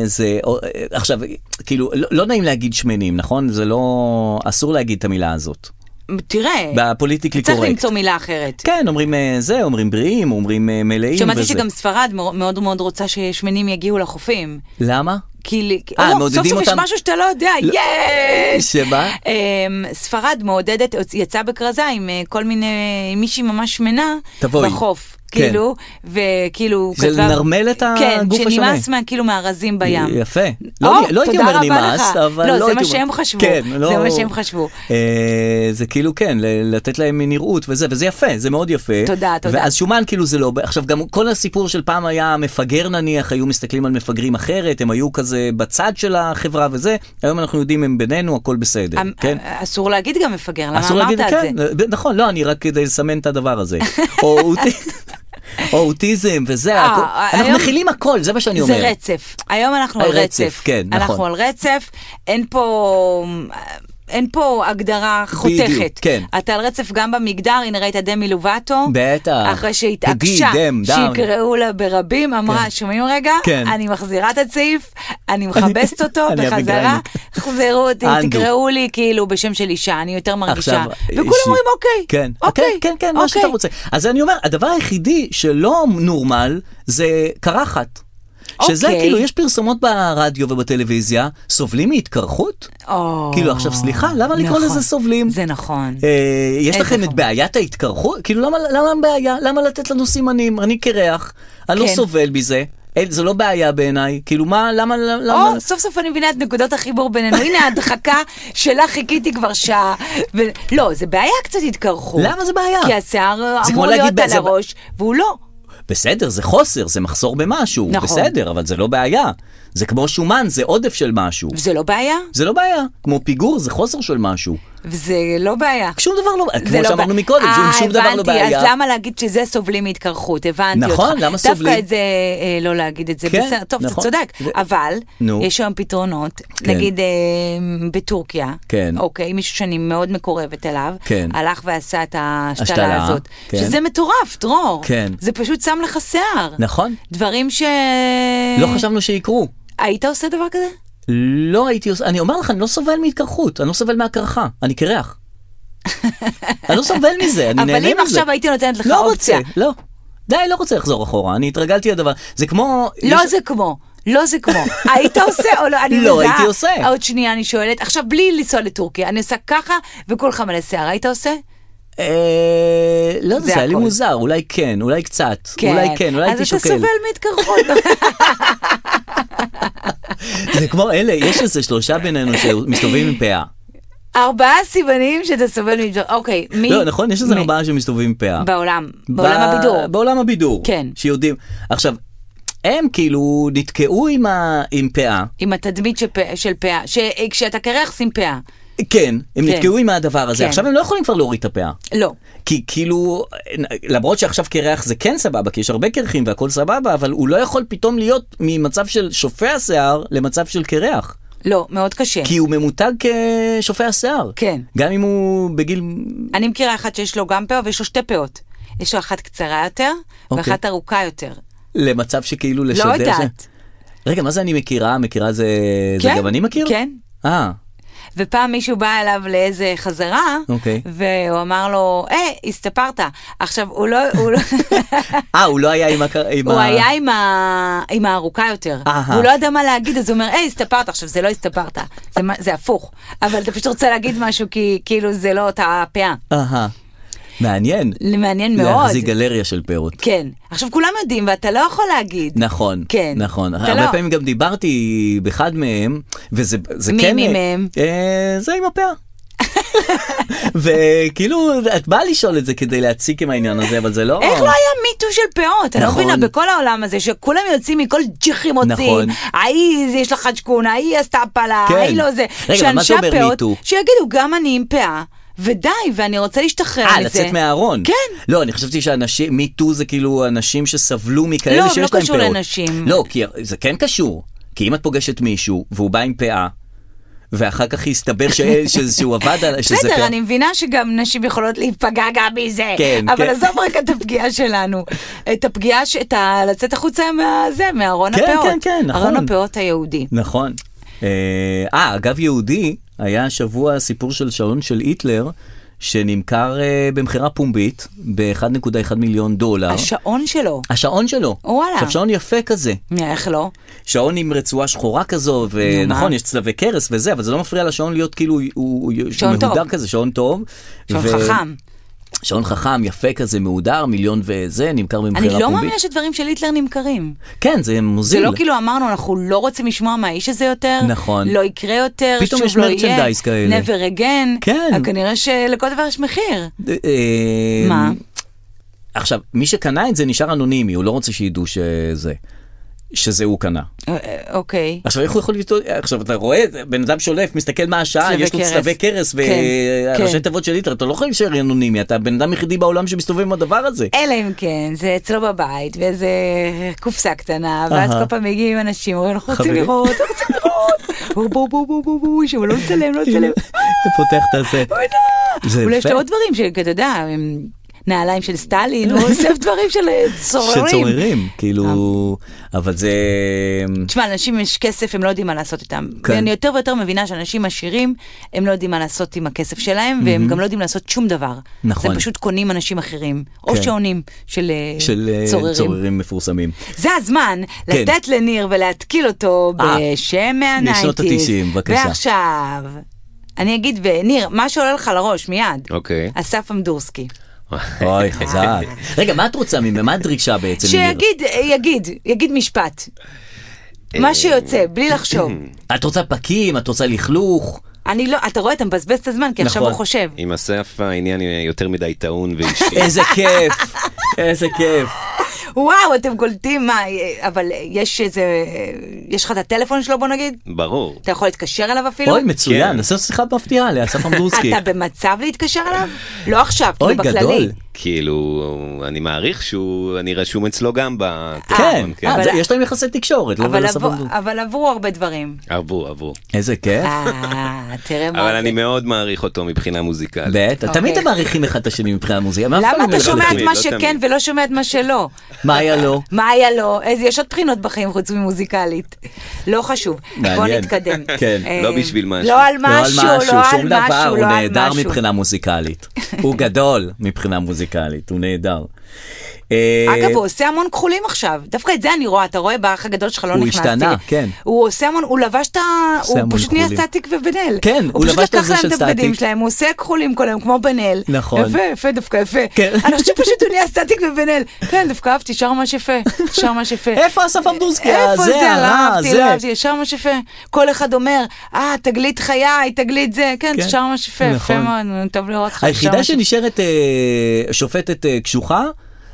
זה, או, אה, עכשיו, כאילו, לא, לא נעים להגיד שמנים, נכון? זה לא, אסור להגיד את המילה הזאת. תראה, בפוליטיקלי אה, צריך קורקט. למצוא מילה אחרת. כן, אומרים אה, זה, אומרים בריאים, אומרים אה, מלאים וזה. שמעתי שגם ספרד מאו- מאוד מאוד רוצה ששמנים יגיעו לחופים. למה? כי לי- אה, לא, מעודדים סוף סוף יש אותם? משהו שאתה לא יודע, לא. יש! שמה? אמ, ספרד מעודדת, יצאה בכרזה עם אה, כל מיני, עם מישהי ממש שמנה, תבואי. בחוף, כן. כאילו, וכאילו, זה לנרמל את הגוף כן, שנמאס השונה. מה, כאילו מהרזים בים. יפה. או, לא, הייתי- לא הייתי תודה אומר רבה נמאס, לך. אבל לא, לא הייתי זה מה אומר- שהם חשבו. כן, זה לא... מה שהם חשבו. אה, זה כאילו, כן, ל- לתת להם נראות וזה, וזה יפה, זה מאוד יפה. תודה, תודה. ואז שומן כאילו זה לא... עכשיו, גם כל הסיפור של פעם היה מפגר נניח, היו מסתכלים על מפגרים אחרת, הם היו כזה בצד של החברה וזה, היום אנחנו יודעים, הם בינינו, הכל בסדר, אמ- כן? אסור להגיד גם מפגר, למה אסור אמרת להגיד, את זה? כן, זה. נכון, לא, אני רק כדי לסמן את הדבר הזה. או אוט- או אוטיזם וזה, אה, הכל- אנחנו היום- מכילים הכל, זה מה שאני אומר. זה רצף. היום אנחנו על על רצף. רצף, כן, אנחנו נכון. על רצף, אין פה... אין פה הגדרה חותכת. בדיוק, כן. אתה על רצף גם במגדר, הנה ראית דמי לובטו. בטח. אחרי תגיד, שהתעקשה, דם, דם. שיקראו לה ברבים, אמרה, כן. שומעים רגע? כן. אני מחזירה את הסעיף, אני מכבסת אותו אני בחזרה, אביגרייניק. חזרו אותי, אנדו. תקראו לי כאילו בשם של אישה, אני יותר מרגישה. עכשיו, וכולם אישי. אומרים, אוקיי, כן, אוקיי, כן, כן, מה שאתה אוקיי." רוצה. אז אני אומר, הדבר היחידי שלא נורמל זה קרחת. שזה אוקיי. כאילו, יש פרסומות ברדיו ובטלוויזיה, סובלים מהתקרחות? או, כאילו, עכשיו, סליחה, למה לקרוא נכון. לזה סובלים? זה נכון. אה, יש איזה לכם את חמור. בעיית ההתקרחות? כאילו, למה- למה הבעיה? למה לתת לנו סימנים? אני קרח, אני לא כן. סובל מזה. אין, זה לא בעיה בעיניי, כאילו מה, למה, למה, או, סוף סוף אני מבינה את נקודות החיבור בינינו. הנה ההדחקה שלה חיכיתי כבר שעה. ו... לא, זה בעיה קצת התקרחות. למה זה בעיה? כי השיער זה אמור כמו להגיד להיות על באיזה- הראש, והוא לא. בסדר, זה חוסר, זה מחסור במשהו, נכון. בסדר, אבל זה לא בעיה. זה כמו שומן, זה עודף של משהו. וזה לא בעיה? זה לא בעיה, כמו פיגור זה חוסר של משהו. וזה לא בעיה. שום דבר לא, זה כמו לא שאמרנו בעיה. מקודם, שום- שום דבר לא אה, הבנתי, בעיה. אז למה להגיד שזה סובלים מהתקרחות? הבנתי אותך. נכון, למה סובלים? דווקא את זה, אה, לא להגיד את זה, כן, בסדר, טוב, אתה נכון. צודק. ו- אבל, נו. יש היום פתרונות, נגיד אה, בטורקיה, כן. אוקיי, מישהו שאני מאוד מקורבת אליו, כן. הלך ועשה את השתלה, ההשתלה הזאת. כן. שזה מטורף, דרור. כן. זה פשוט שם לך שיער. נכון, דברים ש... אה. לא חשבנו שיקרו. היית עושה דבר כזה? לא הייתי עושה, אני אומר לך, אני לא סובל מהתקרחות, אני לא סובל מהקרחה, אני קרח. אני לא סובל מזה, אני נהנה אבל מזה. אם עכשיו הייתי נותנת לך לא אופציה. רוצה, לא. די, לא רוצה לחזור אחורה, אני התרגלתי לדבר. זה כמו... לא יש- זה כמו. לא זה כמו, היית עושה או לא, אני לא, מזהה. הייתי עושה. עוד שנייה אני שואלת, עכשיו בלי לנסוע לטורקיה, אני עושה ככה וכולך מלא שיער, היית עושה? אה, לא יודע, זה זה היה לי הכל. מוזר, אולי כן, אולי קצת, אולי כן, אולי הייתי אז שוקל. אתה סובל מהתקרחות. זה כמו אלה, יש איזה שלושה בינינו שמסתובבים עם פאה. ארבעה סימנים שאתה סובל מהתקרחות, אוקיי, מי? לא, נכון? יש איזה מי? ארבעה שמסתובבים עם פאה. בעולם, ב- בעולם הבידור. בעולם הבידור. כן. שיודעים. עכשיו, הם כאילו נתקעו עם ה- עם פאה. עם התדמית של פאה- של פאה, שכשאתה קרח שים פאה. כן, הם כן. נתקעו עם הדבר הזה. כן. עכשיו הם לא יכולים כבר להוריד את הפאה. לא. כי כאילו, למרות שעכשיו קרח זה כן סבבה, כי יש הרבה קרחים והכל סבבה, אבל הוא לא יכול פתאום להיות ממצב של שופע שיער למצב של קרח. לא, מאוד קשה. כי הוא ממותג כשופע שיער. כן. גם אם הוא בגיל... אני מכירה אחת שיש לו גם פאה ויש לו שתי פאות. יש לו אחת קצרה יותר, אוקיי. ואחת ארוכה יותר. למצב שכאילו לשדר... לא זה- יודעת. רגע, מה זה אני מכירה? מכירה זה... זה כן, גם אני מכיר? כן. אה, ופעם מישהו בא אליו לאיזה חזרה, אוקיי. והוא אמר לו, היי, הסתפרת. עכשיו, הוא לא, הוא, לא, אה, הוא לא היה עם הכ... עם הוא ה- היה עם, ה, עם הארוכה יותר. אהה. הוא לא ידע מה להגיד, אז הוא אומר, היי, הסתפרת. עכשיו, זה לא הסתפרת, זה, מה- זה הפוך. אבל אתה פשוט רוצה להגיד משהו, כי כאילו זה לא אותה פאה. אהה. מעניין. מעניין מאוד. להחזיק גלריה של פירות. כן. עכשיו, כולם יודעים, ואתה לא יכול להגיד. נכון, כן. נכון. אתה הרבה לא. פעמים גם דיברתי באחד מהם, וזה זה מי- כן... מי מהם? אה, זה עם הפאה. וכאילו, את באה לשאול את זה כדי להציק עם העניין הזה, אבל זה לא... איך לא היה מיטו של פאות? אני לא נכון. מבינה, בכל העולם הזה, שכולם יוצאים מכל ג'יחים נכון. מוציאים, ההיא זה- יש לך חג'קון, ההיא עשתה הפלה, כן. ההיא לא זה. רגע, אבל מה זה שאנשי אומר הפאות, מיטו? שיגידו, גם אני עם פאה, ודי, ואני רוצה להשתחרר מזה. אה, לצאת מהארון. כן. לא, אני חשבתי שאנשים, מיטו זה כאילו אנשים שסבלו מכאלה לא, שיש לא להם פאות. קשור לאנשים. לא, כי זה כן קשור. כי אם את פוגשת מישהו, והוא בא עם פאה, ואחר כך הסתבר ש... ש- שהוא עבד על... שזה בסדר, פאה- אני מבינה שגם נשים יכולות להיפגע גם מזה, כן, אבל כן. עזוב רק את הפגיעה שלנו, את הפגיעה, ש- את ה... לצאת החוצה מהזה, מארון כן, הפאות. כן, כן, נכון. ארון הפאות היהודי. נכון. אה, אה, אגב יהודי, היה השבוע סיפור של שעון של היטלר, שנמכר אה, במכירה פומבית ב-1.1 מיליון דולר. השעון שלו, השעון שלו. וואלה. עכשיו, שעון יפה כזה. איך לא? שעון עם רצועה שחורה כזו, מה? ונכון, יש צלבי קרס וזה, אבל זה לא מפריע לשעון להיות כאילו, הוא- הוא שעון מהודר טוב. כזה, שעון טוב. שעון ו- חכם. שעון חכם, יפה כזה, מהודר, מיליון וזה, נמכר במכירה אני פומבית. לא מאמינה שדברים של היטלר נמכרים. כן, זה מוזיל. זה לא כאילו אמרנו, אנחנו לא רוצים לשמוע מהאיש הזה יותר, נכון. לא יקרה יותר, פתאום שוב יש לא מרצ'נדייז כאלה. יהיה, never again, כן. אבל כנראה שלכל דבר יש מחיר. אה, אה, כאילו- מה? עכשיו, מי שקנה את זה נשאר אנונימי, הוא לא רוצה שידעו שזה. שזה הוא קנה. אה, אה, אוקיי. עכשיו איך הוא יכול לטעות, עכשיו אתה רואה, בן אדם שולף, מסתכל מה השעה, צלבי יש לו קרס. צלבי קרס כן, וראשי כן. תיבות של ליטר, אתה לא יכול להישאר אנונימי, אתה הבן אדם היחידי בעולם שמסתובב עם הדבר הזה. אלא אם כן, זה אצלו בבית, ואיזה קופסה קטנה, ואז אהה. כל פעם מגיעים אנשים, אומרים, אנחנו רוצים חברים. לראות, אנחנו רוצים לראות, בואו בואו בואו בואו בואו בואו, שהוא לא מצלם, לא מצלם, פותח את הזה. אוי, לא. זה אולי יש יפה. לו עוד דברים, שאתה יודע, הם נעליים של סטלין, הוא אוסף דברים של אה, צוררים. אה. שצוררים, כאילו, אבל זה... אה, תשמע, לאנשים יש כסף, הם לא יודעים מה לעשות איתם. כן. כן. ואני יותר ויותר מבינה שאנשים עשירים, הם לא יודעים מה לעשות עם הכסף שלהם, והם גם לא יודעים לעשות שום דבר. נכון. זה פשוט קונים אנשים אחרים, או כן. שעונים של, אה, של אה, צוררים. צוררים מפורסמים. זה הזמן כן. לתת לניר ולהתקיל אותו אה, בשם מהנייטיז. משנות ה-90, בבקשה. ועכשיו, אני אגיד, וניר, מה שעולה לך לראש, מיד. אוקיי. אסף עמדורסקי. אוי, חזק. רגע, מה את רוצה ממנו? מה הדרישה בעצם? מניר? שיגיד, אה, יגיד, יגיד משפט. אה, מה שיוצא, בלי לחשוב. את רוצה פקים? את רוצה לכלוך? אני לא, אתה רואה, אתה מבזבז את הזמן, כי עכשיו נכון. הוא חושב. עם אסף העניין יותר מדי טעון ואישי. איזה כיף, איזה כיף. וואו, אתם קולטים, מה, אה, אבל יש איזה, יש לך את הטלפון שלו, בוא נגיד? ברור. אתה יכול להתקשר אליו אפילו? אוי, מצוין, כן. עשה שיחה מפתיעה לאסף אמדורסקי. אתה במצב להתקשר אליו? לא עכשיו, אוי, כאילו בכללי. גדול. כאילו, אני מעריך שהוא, אני רשום אצלו כן, גם בטלפון, אה, כן. אבל- זה- יש להם יחסי תקשורת, לא אבל ולאסף עבור- אמדורסקי. אבל עברו הרבה דברים. עבור, עבור. איזה כיף. אה, תראה מה אבל זה. אני מאוד מעריך אותו מבחינה מוזיקלית. בטח, תמיד הם מעריכים אחד את השני מבחינה מוזיקה. הם אף פעם אה, אוקיי. למה לא אתה שומע את מלכלכים. מה לא שכן תמיד. ולא שומע את מה שלא? מה היה לו? מה היה לו? איזה, יש עוד בחינות בחיים חוץ ממוזיקלית. לא חשוב. בוא מעניין. נתקדם. כן. אה, לא בשביל משהו. לא על לא על משהו, לא על משהו, שום דבר, הוא לא על נהדר משהו. מבחינה מוזיקלית. הוא גדול מבחינה מוזיקלית, הוא נהדר. אה, אגב, הוא עושה המון כחולים עכשיו. דווקא את זה אני רואה, אתה רואה באח הגדול שלך, לא הוא נכנסתי. השתנה, כן. הוא עושה המון, הוא לבש את ה... עושה הוא המון פשוט נהיה כחולים. סטטיק ובן-אל. כן, הוא הוא פשוט לבש את לקח הזה להם של את הבגדים סטטיק. שלהם, הוא עושה כחולים כל היום, כמו בן-אל. נכון. יפה, יפה, דווקא יפה. כן. אני חושבת שפשוט הוא נהיה סטטיק ובן-אל. כן, דווקא אהבתי, שר ממש יפה. שר ממש יפה. איפה אסף אמדורסקי? אה, איפה זה, לא הרע, אהבתי, לא אהבתי, ישר ממש יפה. כל אחד אומר, אה, תגלית חיי, תגלית זה, כן, כן. ישר ממש יפה, יפה נכון. מאוד, טוב לראות אותך. ישר היחידה ממש- שנשארת אה, שופטת אה, קשוחה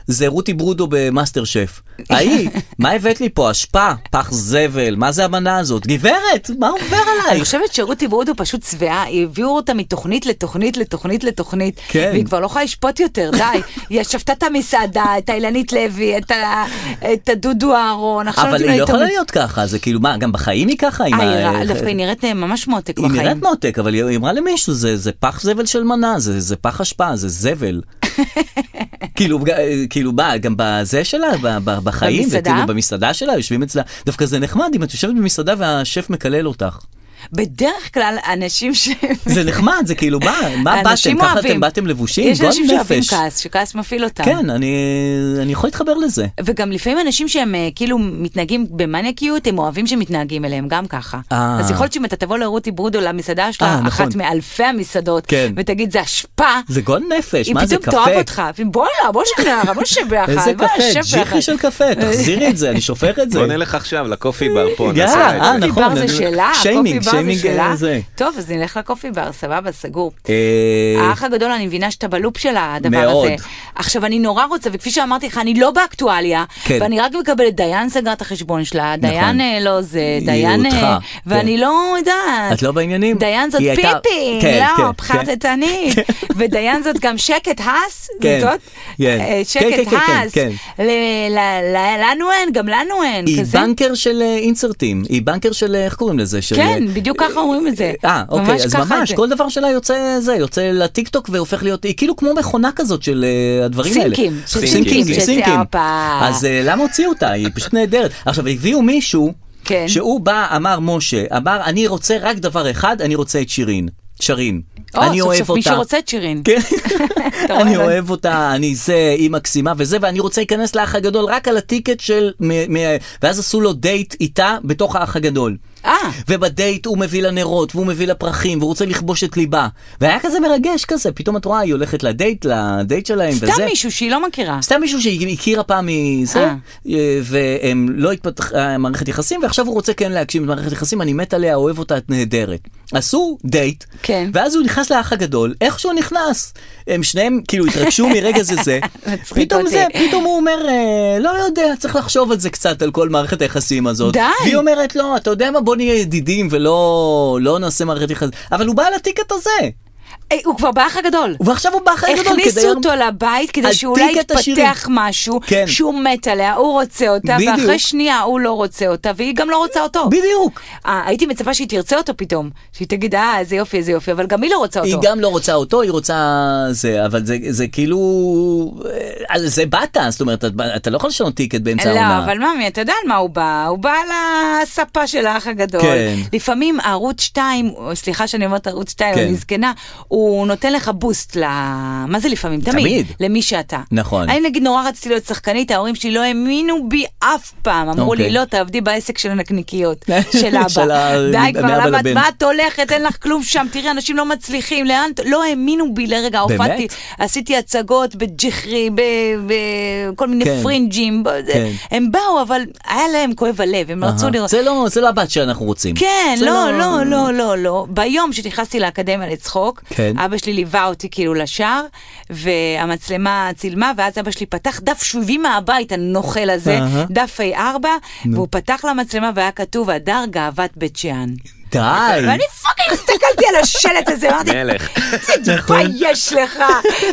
זה רותי ברודו במאסטר שף. ההיא, מה הבאת לי פה? אשפה, פח זבל, מה זה המנה הזאת? גברת, מה עובר אה, אני עלייך? חושבת שרותי ברודו פשוט שבעה, הביאו אותה מתוכנית לתוכנית לתוכנית לתוכנית, כן. והיא כבר לא יכולה לשפוט יותר, די. היא שפטה את המסעדה, את האילנית לוי, את ה- את הדודו אהרון, עכשיו אבל נותנים לה היא לא את יכולה המ- להיות ככה, זה כאילו, מה, גם בחיים היא ככה? עם אה, ה- היא רעה, דווקא היא נראית אה, ממש מותק היא בחיים. נראית מותק, אבל היא אמרה למישהו, זה, זה פח זבל של מנה, זה, זה פח אשפה, זה זבל. כאילו, ג- כאילו, מה, גם בזה שלה, ב- ב- בחיים, במסעדה? וכאילו, במסעדה שלה, יושבים אצלה, דווקא זה נחמד אם את יושבת במסעדה והשף מקלל אותך. בדרך כלל אנשים ש... זה נחמד, זה כאילו, מה, מה באתם? אנשים ככה אוהבים. אתם באתם לבושים? יש גועל אנשים שאוהבים נפש. כעס, שכעס מפעיל אותם. כן, אני, אני יכול להתחבר לזה. וגם לפעמים אנשים שהם אה, כאילו מתנהגים במניאקיות, הם אוהבים שמתנהגים אליהם גם ככה. אה. אז יכול להיות שאם אתה תבוא לרותי ברודו למסעדה אה, שלה, נכון. אחת מאלפי המסעדות, כן. ותגיד זה אשפה, זה גועל נפש, היא מה זה פתאום קפה? תאהב אותך, בואנה, בוא שנערה, בוא שב ביחד, איזה בוא קפה, שב ביחד. אה, ג'יחי של קפה, תחזירי את זה, אני שופך את זה. בוא נלך עכשיו לקופי בר פה, יאללה, נעשה את אה, זה. קופי בר נכון, זה אני- שלה, שיימינג, קופי בר זה שיימינג, שלה. אה, זה. טוב, אז נלך לקופי בר, סבבה, סגור. אה, האח הגדול, אני מבינה שאתה בלופ של הדבר מאוד. הזה. עכשיו, אני נורא רוצה, וכפי שאמרתי לך, אני לא באקטואליה, כן. נכון. ואני רק מקבלת, דיין סגרה את החשבון שלה, דיין אה, לא זה, היא דיין... אה, אותך, ואני כן. לא יודעת. את לא בעניינים? דיין זאת היא פיפי, הייתה- כן, לא, כן, פחדתנית. ודיין זאת גם שקט הס, כן, זאת? כן. אה, כן, שקט כן, כן, כן, הס. כן. ל- ל- ל- לנו אין, גם לנו אין. היא כזה. בנקר של אה, אינסרטים, היא בנקר של אה, איך קוראים לזה? של, כן, אה, בדיוק ככה אומרים את זה. אה, אוקיי, אז ככה ממש, זה. כל דבר שלה יוצא זה, יוצא לטיקטוק והופך להיות, היא כאילו כמו מכונה כזאת של אה, הדברים האלה. סינקים, של סינקים, היא של סינקים. שיער. אז אה, למה הוציאו אותה? היא פשוט נהדרת. עכשיו, הביאו מישהו, כן. שהוא בא, אמר משה, אמר, אני רוצה רק דבר אחד, אני רוצה את שירין. שרין. או, אני סוף אוהב סוף אותה. מישהו רוצה את שירין. כן. אתה רואה, אני לא- אוהב אותה, אני זה, היא מקסימה וזה, ואני רוצה להיכנס לאח הגדול רק על הטיקט של... מ- מ- ואז עשו לו דייט איתה בתוך האח הגדול. אה. ובדייט הוא מביא לה נרות, והוא מביא לה פרחים, והוא רוצה לכבוש את ליבה. והיה כזה מרגש כזה, פתאום את רואה, היא הולכת לדייט, לדייט שלהם וזה. סתם מישהו שהיא לא מכירה. סתם מישהו שהיא הכירה פעם מזה, אה. אה, והם לא התפתחה מערכת יחסים, ועכשיו הוא רוצה כן להגשים את מערכת יחסים, אני מת עליה, אוהב אותה, את נהדרת. עשו דייט, כן. ואז הוא נכנס לאח הגדול, איך שהוא נכנס, הם שניהם כאילו התרגשו מרגע זה זה, מצחיק פתאום אותי. זה, פתאום הוא אומר, אה, לא יודע, צריך לחשוב על זה קצת, על כל מערכת היחסים הזאת. די. והיא אומרת, לא, אתה יודע מה, בוא נהיה ידידים ולא לא נעשה מערכת יחסים, אבל הוא בא על הטיקט הזה, אה, הוא כבר באח הגדול. ועכשיו הוא בא אחרי הגדול הכניסו אותו לבית על כדי שאולי טיקט השירים. יתפתח משהו כן. שהוא מת עליה, הוא רוצה אותה, בדיוק. ואחרי שנייה הוא לא רוצה אותה, והיא גם לא רוצה אותו. בדיוק. אה, הייתי מצפה שהיא תרצה אותו פתאום, שהיא תגיד, אה, איזה יופי, איזה יופי, אבל גם היא לא רוצה אותו. היא גם לא רוצה אותו, היא רוצה זה, אבל זה, זה כאילו... אה, על זה באת, זאת אומרת, אתה, אתה לא יכול לשנות טיקט באמצע העונה. לא, אבל ממי, אתה יודע על מה הוא בא? הוא בא על הספה של האח הגדול. כן. לפעמים ערוץ 2, סליחה שאני אומרת ערוץ 2, כן. אני זקנה, הוא נותן לך בוסט ל... מה זה לפעמים? תמיד. תמיד. למי שאתה. נכון. אני נגיד נורא רציתי להיות שחקנית, ההורים שלי לא האמינו בי אף פעם. אמרו אוקיי. לי, לא, תעבדי בעסק של הנקניקיות. של של אבא. ה- די כבר, מאבא למה את- לבן. מה את הולכת? אין לך כלום שם, תראי, אנשים לא מצליחים, לאן... את- לא האמינו בי לרגע, באמת? הופעתי, עשיתי הצגות בג'יחרי, ב- בכל מיני כן. פרינג'ים. ב- זה- כן. הם באו, אבל היה להם כואב הלב, הם רצו לראות. זה לא, זה לא הבת שאנחנו רוצים. כן, זה לא, לא, לא, לא, לא. ביום שנכנסתי לאקדמיה לצחוק, כן. כן. אבא שלי ליווה אותי כאילו לשער, והמצלמה צילמה, ואז אבא שלי פתח דף שובים מהבית, הנוכל הזה, אהה. דף A4, והוא פתח למצלמה והיה כתוב, הדר גאוות בית שאן. די. ואני פאקינג הסתכלתי על השלט הזה, אמרתי, מלך. תתבייש לך.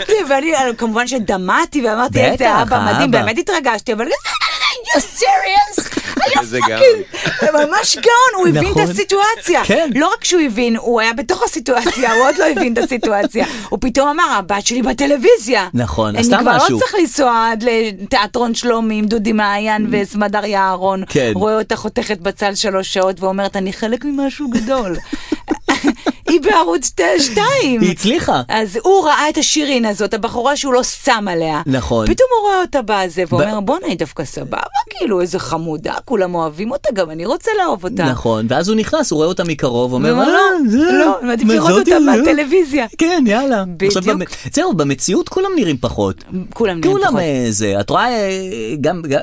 זה, ואני אה, כמובן שדמעתי ואמרתי, בטח, איזה אבא מדהים, האבא." באמת התרגשתי, אבל you're serious, you're איזה fucking, ממש גאון, הוא הבין את נכון. הסיטואציה. כן. לא רק שהוא הבין, הוא היה בתוך הסיטואציה, הוא עוד לא הבין את הסיטואציה. הוא פתאום אמר, הבת שלי בטלוויזיה. נכון, אני עשתה כבר משהו. לא צריך לנסוע עד לתיאטרון שלומי עם דודי מעיין וסמדריה אהרון. כן. רואה אותה חותכת בצל שלוש שעות ואומרת, אני חלק ממשהו גדול. היא בערוץ ת- שתיים. היא הצליחה. אז הוא ראה את השירין הזאת, הבחורה שהוא לא שם עליה. נכון. פתאום הוא רואה אותה בזה, ואומר, בואנה, היא דווקא סבבה, כאילו, איזה חמודה, כולם אוהבים אותה, גם אני רוצה לאהוב אותה. נכון, ואז הוא נכנס, הוא רואה אותה מקרוב, אומר, ואומר, לא, "אה, זה- לא, אני מעדיף מה לראות זאתי, אותה לא?" מהטלוויזיה. כן, יאללה. עכשיו, בדיוק. במ- זהו, במציאות כולם נראים פחות. כולם נראים כולם פחות. אה, זה, את רואה אה, גם, ג- אה,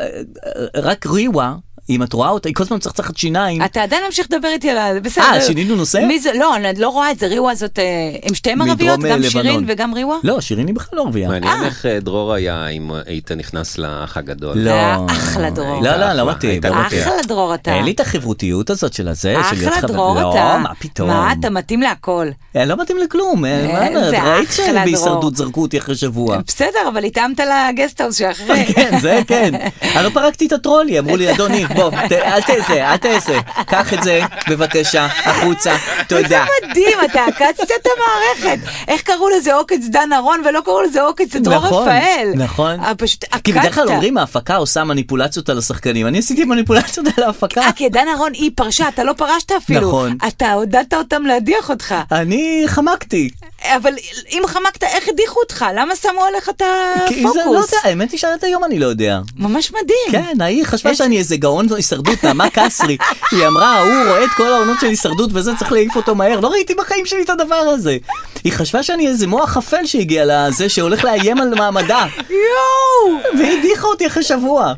רק ריווה, אם את רואה אותה, היא כל הזמן מצחצחת שיניים. אתה עדיין ממשיך לדבר איתי על ה... בסדר. אה, שינינו נושא? מי זה? לא, אני לא רואה את זה. ריווה זאת, אה, הם שתיהן מדרום, ערביות? אה, גם לבנון. שירין וגם ריווה? לא, שירין היא בכלל לא ערבייה. מעניין אה. איך אה, דרור היה אם היית נכנס לאח הגדול. אה, לא. היה אחלה דרור. לא, לא, אחלה, לא מתאים. הייתה לא מתאים. אחלה דרור אתה. אין לי את החברותיות הזאת של הזה, של להיות אחלה חבר- דרור אתה. לא, מה פתאום. מה, אתה מתאים להכל. אה, לא מתאים לכלום, אה, אה, מה זה את ראית אחלה דרור. שבהישרדות זרקו אותי אחרי שבוע. בסדר, אבל התאמת לגסטהאוס שאחרי. אה, כן, זה כן. אני לא פרקתי את הטרולי, אמרו לי, אדוני, בוא, ת- אל תעשה, אל תעשה. קח את זה, בבקשה, החוצה, תודה. זה מדהים, אתה עקצת את המערכת. איך קראו לזה עוקץ דן ארון ולא קראו לזה עוקץ דרור נכון, רפאל. נכון. אה, פשוט עקצת. כי בדרך כלל אומרים, ההפקה עושה מניפולציות על השחקנים, אני עשיתי מניפולציות על ההפקה. אה, כי דן אהרון היא פרשה, אתה לא פרשת אפילו. נכון. אתה עודדת אותם להדיח אותך. אני חמקתי. אבל אם חמקת, איך הדיחו אותך? למה שמו עליך את כי זה לא הפוקוס? יודע, האמת היא שעד היום אני לא יודע. ממש מדהים. כן, ההיא חשבה יש- שאני איזה גאון הישרדות, נעמה קסרי. היא אמרה, הוא רואה את כל העונות של הישרדות וזה, צריך להעיף אותו מהר. לא ראיתי בחיים שלי את הדבר הזה. היא חשבה שאני איזה מוח אפל שהגיע לזה שהולך לאיים על מעמדה. יואו! והיא הדיחה אותי אחרי שבוע.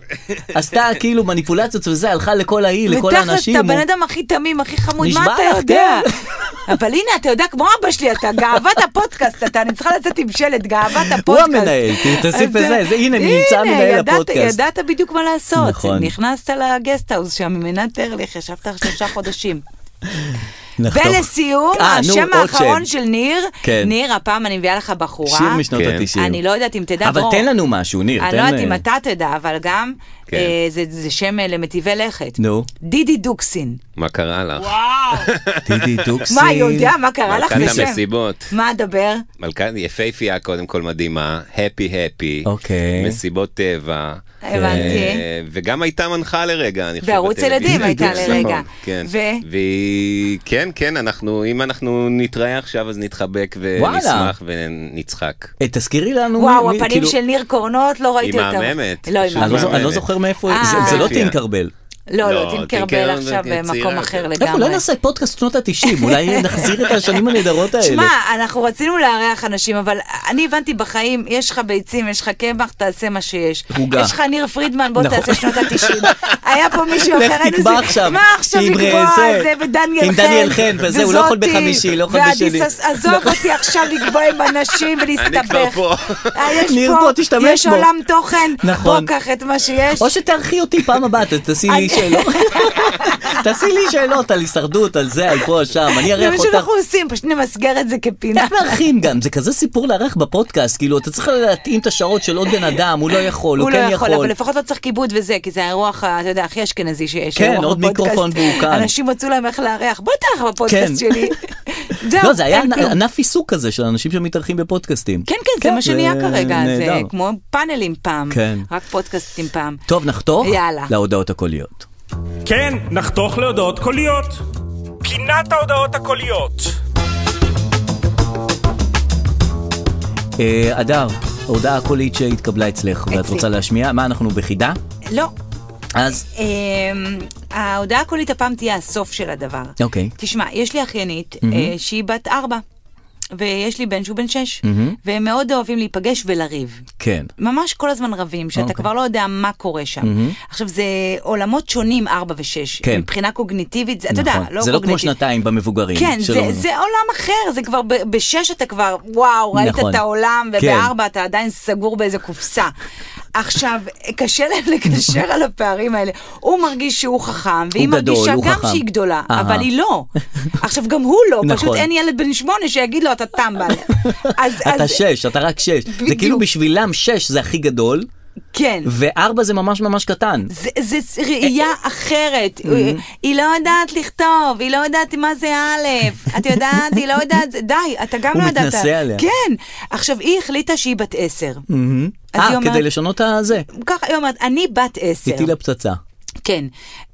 עשתה כאילו מניפולציות וזה, הלכה לכל ההיא, לכל ותכלס, האנשים. אתה בן אדם הכי תמים, הכי חמוד, מה נשבע אתה לך, יודע? כן. אבל הנה, אתה יודע, כמו אבא שלי, אתה גאוות הפודקאסט, אתה, אני צריכה לצאת עם שלט, גאוות הפודקאסט. המנהל, ת- תוסיף אז, לזה, זה- הנה, נמצא מנהל ידעת- הפודקאסט. ידעת בדיוק מה לעשות. נכון. נכנסת לגסטהאוס שם עם עינת ארליך, ישבת שלושה חודשים. נחתוך. ולסיום, אה, נו, השם עוד האחרון שם. של ניר, כן. ניר, הפעם אני מביאה לך בחורה. שיר משנות כן. התשעים. אני לא יודעת אם תדע, אבל דרור. תן לנו משהו, ניר, אני תן... לא יודעת אם אה, אתה תדע, אבל גם, כן. אה, זה- זה שם אה, למטיבי לכת. נו. דידי דוקסין. מה קרה לך? דידי דוקסין. מה, יודע מה קרה לך? מלכת זה שם. המסיבות. מה אדבר? מלכה יפהפייה קודם כל מדהימה, הפי הפי, אוקיי. מסיבות טבע. הבנתי. אה, וגם הייתה מנחה לרגע, אני חושב. בערוץ בטלוויזיה. ילדים הייתה נכון, לרגע. כן. ו? והיא, כן, כן, אנחנו, אם אנחנו נתראה עכשיו אז נתחבק וואלה. ונשמח ונצחק. אה, תזכירי לנו... וואו, מי- הפנים כאילו- של ניר קורנות, לא ראיתי אותם. מהממת. לא, היא פשוט אני לא זוכ- מהממת. אני לא זוכר מאיפה... אה. זה- זה לא יפהפייה. טינקרבל. לא, לא, לא, טינקרבל טינקרבל עכשיו יצירה במקום יותר. אחר אנחנו לא אולי לגמרי. לא נעשה פודקאסט שנות ה-90, אולי נחזיר את השנים הנהדרות האלה. שמע, אנחנו רצינו לארח אנשים, אבל אני הבנתי בחיים, יש לך ביצים, יש לך קמח, תעשה מה שיש. עוגה. יש לך ניר פרידמן, בוא נכון. תעשה שנות ה-90. היה פה מישהו אחר, לך היינו תקבע זה- עכשיו. מה עכשיו עם אה, לקבוע זה, זה, ודניאל חן. עם דניאל חן, וזה, הוא לא יכול וזאתי, בחמישי, לא יכול ועדי בשני. נכון. סס- עזוב אותי עכשיו לקבוע עם אנשים ולהסתבך. אני כבר פה. אה, יש ניר, פה, בוא, תשתמש יש בו. עולם תוכן, בוא נכון. קח את מה שיש. או שתארחי אותי פעם הבאה, ת- תעשי לי אני- שאלות. תעשי לי שאלות על הישרדות, על זה, על פה, על שם, אני זה אארח מה אותך. שאנחנו עושים, פשוט נמסגר את זה כפינה. איך מארחים גם? זה כזה סיפור לארח בפודקאסט, כאילו, אתה צריך להתאים את השעות של עוד בן אדם, הוא לא יכול, הוא הוא לא כן יכול, אבל יכול. לפחות לא צריך כיבוד וזה, כי זה האירוח, ה- אתה יודע, הכי אשכנזי שיש. כן, האירוח עוד בפודקאסט. מיקרופון והוא כאן. אנשים מצאו להם איך לארח, בוא תארח כן. בפודקאסט שלי. זהו, לא, זה היה אין כלום. ענף עיסוק כזה של אנשים שמתארחים בפודקאסטים. כאילו. כן, כן, זה מה שנהיה כרגע, זה נהדר. כמו פאנלים פעם, כן. רק פודקאסטים פעם. טוב, נחתוך יאללה. להודעות הקוליות. כן, נחתוך להודעות קוליות. פינת ההודעות הקוליות. אה, אדר, הודעה קולית שהתקבלה אצלך, ואת אצלי. רוצה להשמיע? מה, אנחנו בחידה? לא, אז, אמ, ההודעה הקולית הפעם תהיה הסוף של הדבר. אוקיי. תשמע, יש לי אחיינית אה, שהיא בת ארבע. ויש לי בן שהוא בן שש, והם מאוד אוהבים להיפגש ולריב. כן. ממש כל הזמן רבים, שאתה אוקיי. okay. כבר לא יודע מה קורה שם. Mm-hmm. עכשיו, זה עולמות שונים, 4 ו-6. כן. מבחינה קוגניטיבית, זה- אתה נכון. יודע, לא זה לא כמו קוגניטיב. שנתיים במבוגרים. כן, זה, שלא- זה עולם אחר, זה כבר ב- בשש אתה כבר, וואו, ראית נכון. את העולם, כן. ובארבע אתה עדיין סגור באיזה קופסה. עכשיו, קשה להם לקשר על הפערים האלה. הוא מרגיש שהוא חכם, והיא הוא גדול, מרגישה הוא גם חכם. שהיא גדולה, אהה. אבל היא לא. עכשיו, גם הוא לא, פשוט נכון. אין ילד בן שמונה שיגיד לו, אתה טמבל. אז, אתה אז- שש, אתה רק שש. זה בדיוק. כאילו בשבילם שש זה הכי גדול, כן. וארבע זה ממש ממש קטן. זה, זה ראייה אחרת, אה, היא- היא לא יודעת לכתוב, היא לא יודעת מה זה א', את יודעת, היא לא יודעת, זה- די, אתה גם הוא לא ידעת. מתנשא עליה. כן, עכשיו היא החליטה שהיא בת עשר. אז אה, היא אומרת- כן. כדי לשנות את זה. ככה היא אומרת, אני בת עשר. הטילה פצצה. כן.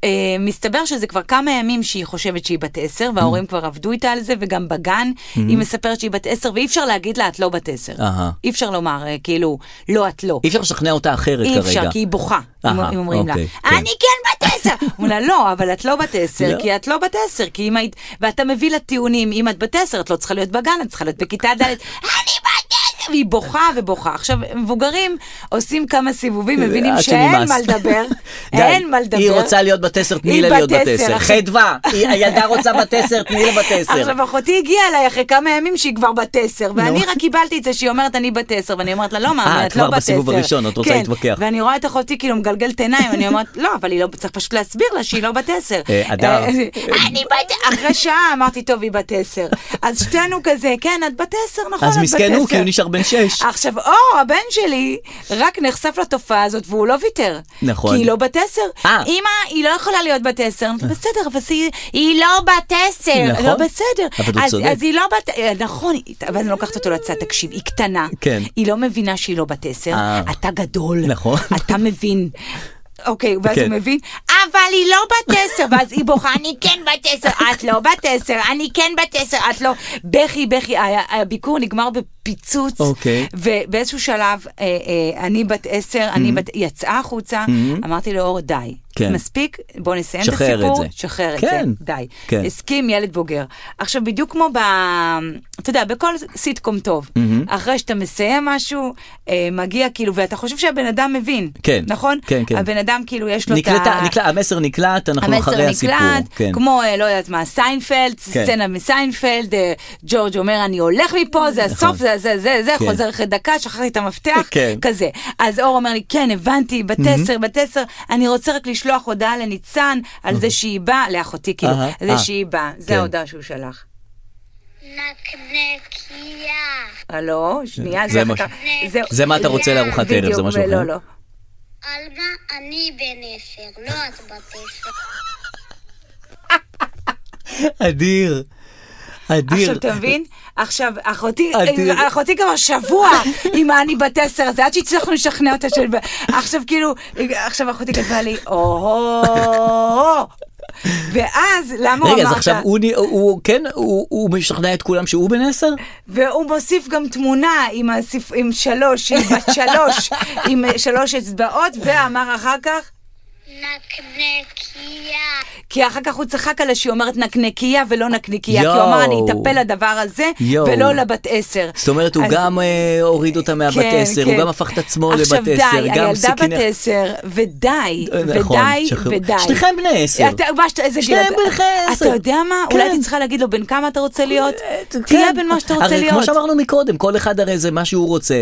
אה, מסתבר שזה כבר כמה ימים שהיא חושבת שהיא בת עשר, וההורים כבר עבדו איתה על זה, וגם בגן היא מספרת שהיא בת עשר, ואי אפשר להגיד לה, את לא בת עשר. אהה. אי אפשר לומר, אה, כאילו, לא, את לא. אי אפשר לשכנע אותה אחרת אי כרגע. אפשר, כי היא בוכה, אם אהה, אם אומרים לה, אוקיי, כן. אני כן בת עשר. אומרים לה, לא, אבל את לא בת עשר, לא. כי את לא בת עשר, כי אם היית, ואתה מביא לה טיעונים, אם את בת עשר, את לא צריכה להיות בגן, את צריכה להיות בכיתה ד', אני בת עשר, והיא בוכה ובוכה. עכשיו, מבוגרים עושים כמה סיבובים, מבינים עד שאין אה, שנמאס. מה לדבר, די, אין מה לדבר. היא רוצה להיות בת עשר, תני היא לה בת להיות בת עשר, עשר. אחי. חדווה, היא- הילדה רוצה בת עשר, תני לה בת עשר. עכשיו אחותי הגיעה אליי אחרי כמה ימים שהיא כבר בת עשר, ואני רק קיבלתי את זה שהיא אומרת אני בת עשר, ואני אומרת לה לא אה, מה, את את לא בת עשר. כבר בסיבוב הראשון, את רוצה כן, להתווכח. ואני רואה את אחותי כאילו מגלגלת עיניים, אני אומרת לא, אבל היא לא, צריך פשוט להסביר לה שהיא לא בת עשר. אה, הדר. אה, אני בת, אחרי שעה אמרתי טוב היא בת עשר. אז שתינו כזה, כן את בת עשר, נכון את אז בת עשר. אה, מסכן הוא, כי הוא נשאר בן שש. עכשיו, אור, הבן שלי, רק נחשף לתופעה הזאת והוא לא ויתר. נכון. כי היא לא בת עשר. אה. אמא, היא לא יכולה להיות בת עשר. אני אומרת, בסדר, אבל היא- היא לא בת עשר. נכון. לא בסדר. אבל הוא אז- צודק. אז היא לא בת... אה, נכון, היא- ואז אני לוקחת אותו לצד, תקשיב, היא קטנה. כן. היא לא מבינה שהיא לא בת עשר. אה. אתה גדול. נכון. אתה מבין. אוקיי, ואז כן. הוא מבין, אבל היא לא בת עשר, ואז היא בוכה, אני כן בת עשר, את לא בת עשר, אני כן בת עשר, את לא. בכי, בכי, היה- הביקור נגמר בפיצוץ. אוקיי. ובאיזשהו שלב, אה, אה, אני בת עשר, אני בת... היא יצאה החוצה, אמרתי לו, אור, די. Mm-hmm. כן. מספיק, בוא נסיים את שחרר הסיפור. את זה. שחרר את כן. זה. די. כן. הסכים ילד בוגר. עכשיו, בדיוק כמו ב... אתה יודע, בכל סיטקום טוב, Mm-hmm. אחרי שאתה מסיים משהו, אה, מגיע כאילו, ואתה חושב שהבן אדם מבין. כן. נכון? כן, כן. הבן אדם כאילו יש לו את נקלטה, ה... נקלט, המסר נקלט, אנחנו אחרי הסיפור. כן. כמו, אה, לא יודעת מה, סיינפלד, כן. סצנה מסיינפלד, אה, ג'ורג' אומר, אני הולך מפה, זה הסוף, זה זה זה, זה, נכון. כן. חוזר אחרי דקה, שכחתי את המפתח, כן. כזה. אז אור אומר לי, כן, הבנתי, בת עשר, בת עשר, אני רוצה רק לשלוח הודעה לניצן על זה שהיא באה, לאחותי כאילו, אהה, על אה. זה שהיא באה, כן. זה ההודעה שהוא שלח. נקנקיה. הלו, שנייה, זה אחר מה כך- ש- זה מה אתה רוצה לארוחת ערב, זה בדיוק, משהו כן? ולא, אחר. לא. עלמה, אני בן עשר, לא את בת עשר. אדיר. אדיר. עכשיו, אתה מבין? עכשיו, אחותי, אדיר. אחותי כבר שבוע עם האני בת עשר הזה, עד שהצלחנו לשכנע אותה של... עכשיו, כאילו, עכשיו אחותי כתבה לי, או-הו, ואז, למה הוא רגע, אז אמר עכשיו לה- הוא, נ- הוא כן, הוא, הוא משכנע את כולם שהוא בן עשר? והוא מוסיף גם תמונה עם, הספ... עם שלוש, עם בת שלוש, עם שלוש אצבעות, ואמר אחר כך, נקנקיה. כי אחר כך הוא צחק עליה שהיא אומרת נקנקייה ולא נקניקייה, כי הוא יואו. אמר אני אטפל לדבר הזה יואו. ולא לבת עשר. זאת אומרת, הוא אז- גם אה, הוריד אותה מהבת כן, עשר, הוא כן. גם הפך את עצמו עכשיו, לבת עשר, די, גם הילדה בת סכיני... עשר, ודי, נכון, ודי, שחררו. ודי. שניכם בני עשר. אתה- מה שאתה- איזה גיל שניהם אתה- בני עשר. אתה יודע מה? אולי כן. הייתי צריכה להגיד לו בן כמה אתה רוצה להיות? כן. תהיה בן מה שאתה רוצה הרי כמו להיות. שאמרנו מקודם, כל אחד הרי זה מה שהוא רוצה,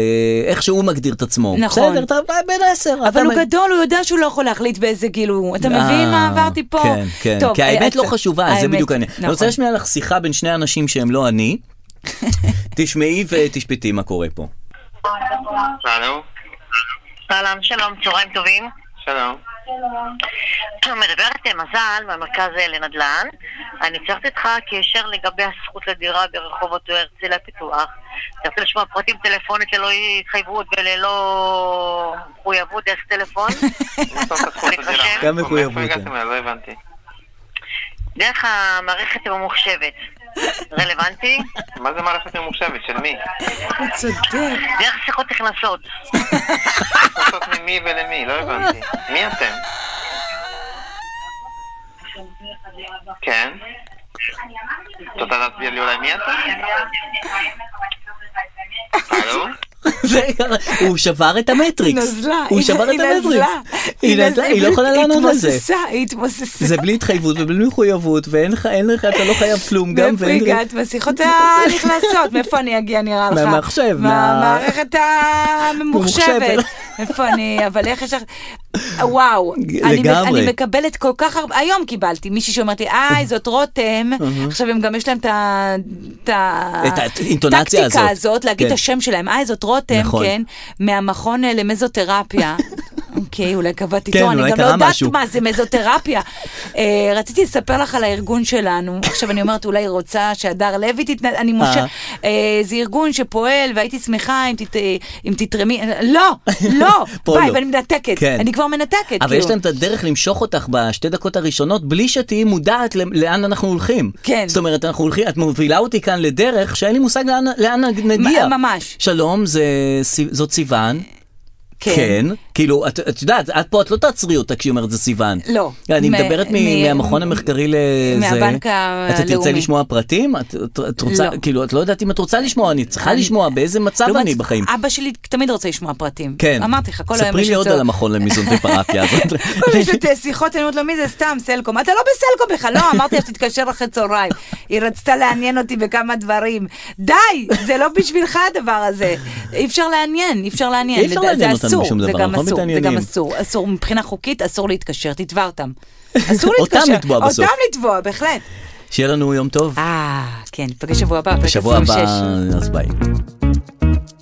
אה, איך שהוא מגדיר את עצמו. נכון. בסדר, אתה בן עשר. אתה אבל הוא בן- גדול, הוא יודע שהוא לא יכול להחליט באיזה גיל הוא. אתה מבין אה, מה עברתי פה? כן, כן, טוב, כי אה, האמת אז- לא חשובה, זה האמת, בדיוק העניין. אני רוצה נכון. לשמיע לך שיחה בין שני אנשים שהם לא אני. תשמעי ותשפטי מה קורה פה. הלו, שלום, שלום, צהריים טובים. שלום. מדברת למזל מהמרכז אה, לנדל"ן. אני צריכה איתך קשר לגבי הזכות לדירה ברחובות הרצליה פיתוח. אתה רוצה לשמוע פרטים טלפונית ללא התחייבות וללא מחויבות דרך טלפון? לא, גם גם מחויבות, כן. איפה הגעתם אליי? לא הבנתי. דרך המערכת הממוחשבת. רלוונטי? מה זה מערכת ממוחשבת? של מי? הוא צודק. דרך שיחות נכנסות. לעשות ממי ולמי? לא הבנתי. מי אתם? כן? אתה רוצה להסביר לי אולי מי אתה? הלו? רגע, הוא שבר את המטריקס. נזלה, הוא היא- שבר את היא המטריקס. נזלה. היא נזלה, היא לא יכולה לענות על זה. התמוססה, היא התמוססה. זה בלי התחייבות ובלי מחויבות, ואין לך, אין לך, אתה לא חייב כלום גם. מאיפה ואין- הגעת בשיחות הנכנסות? מאיפה אני אגיע נראה לך? מהמחשב, מה- מהמערכת הממוחשבת. ממוחשבת. איפה אני, אבל איך יש לך... וואו, אני- לגמרי. אני מקבלת כל כך הרבה, היום קיבלתי מישהי שאומרת לי, איי, זאת רותם, עכשיו הם גם יש להם את ה- את ה- את האינטונציה טקטיקה הזאת. הזאת, להגיד את כן. השם שלהם, איי, זאת רותם, נכון. כן, מהמכון אה, למזותרפיה. אוקיי, אולי קבעתי כן, תור, אני אולי גם לא קרה יודעת משהו. מה זה מזותרפיה. אה, רציתי לספר לך על הארגון שלנו. עכשיו אני אומרת, אולי היא רוצה שהדר לוי תתנ... אני מושך... אה, זה ארגון שפועל, והייתי שמחה אם תת- אה, אם תתרמי... לא, לא, פה ביי, לא. ואני מנתקת. כן. אני כבר מנתקת, אבל כאילו. יש להם את הדרך למשוך אותך בשתי דקות הראשונות בלי שתהיי מודעת למ- לאן אנחנו הולכים. כן. זאת אומרת, אנחנו הולכים, את מובילה אותי כאן לדרך שאין לי מושג לאן, לאן נגיע. מ- ממש. שלום, זה, סי- זאת סיוון. כן. כאילו, את, את יודעת, את פה את לא תעצרי אותה כשהיא אומרת זה סיוון. לא. אני מ- מדברת מ- מ- מהמכון המחקרי לזה. מהבנק אתה תרצה הלאומי. לשמוע פרטים? את, את, את רוצה, לא. כאילו, את לא יודעת אם את רוצה לשמוע, אני צריכה לשמוע באיזה מצב לעומת אני זאת, בחיים. אבא שלי תמיד רוצה לשמוע פרטים. כן. אמרתי לך, כל היום ספרי יש לי עוד אצלו- על המכון למיזון ותרפיה הזאת. יש לי שיחות, אני אומרת לו, מי זה סתם סלקום? אתה לא בסלקום בכלל, לא, אמרתי לה שתתקשר אחרי צהריים. היא רצתה לעניין אותי בכמה דברים. די, זה לא בשבילך הדבר הזה. אי אפשר לעניין, אי אפשר לעניין. אי אפשר זה- זה לעניין אותנו אסור, בשום זה דבר, גם אנחנו לא אסור, זה גם מתעניינים. אסור, אסור, מבחינה חוקית אסור להתקשר, תתבע אותם. אסור אותם להתקשר. לתבוע בסוף. אותם לתבוע, בהחלט. שיהיה לנו יום טוב. אה, כן, נפגש שבוע הבא, פרק בשבוע הבא, 26. אז ביי.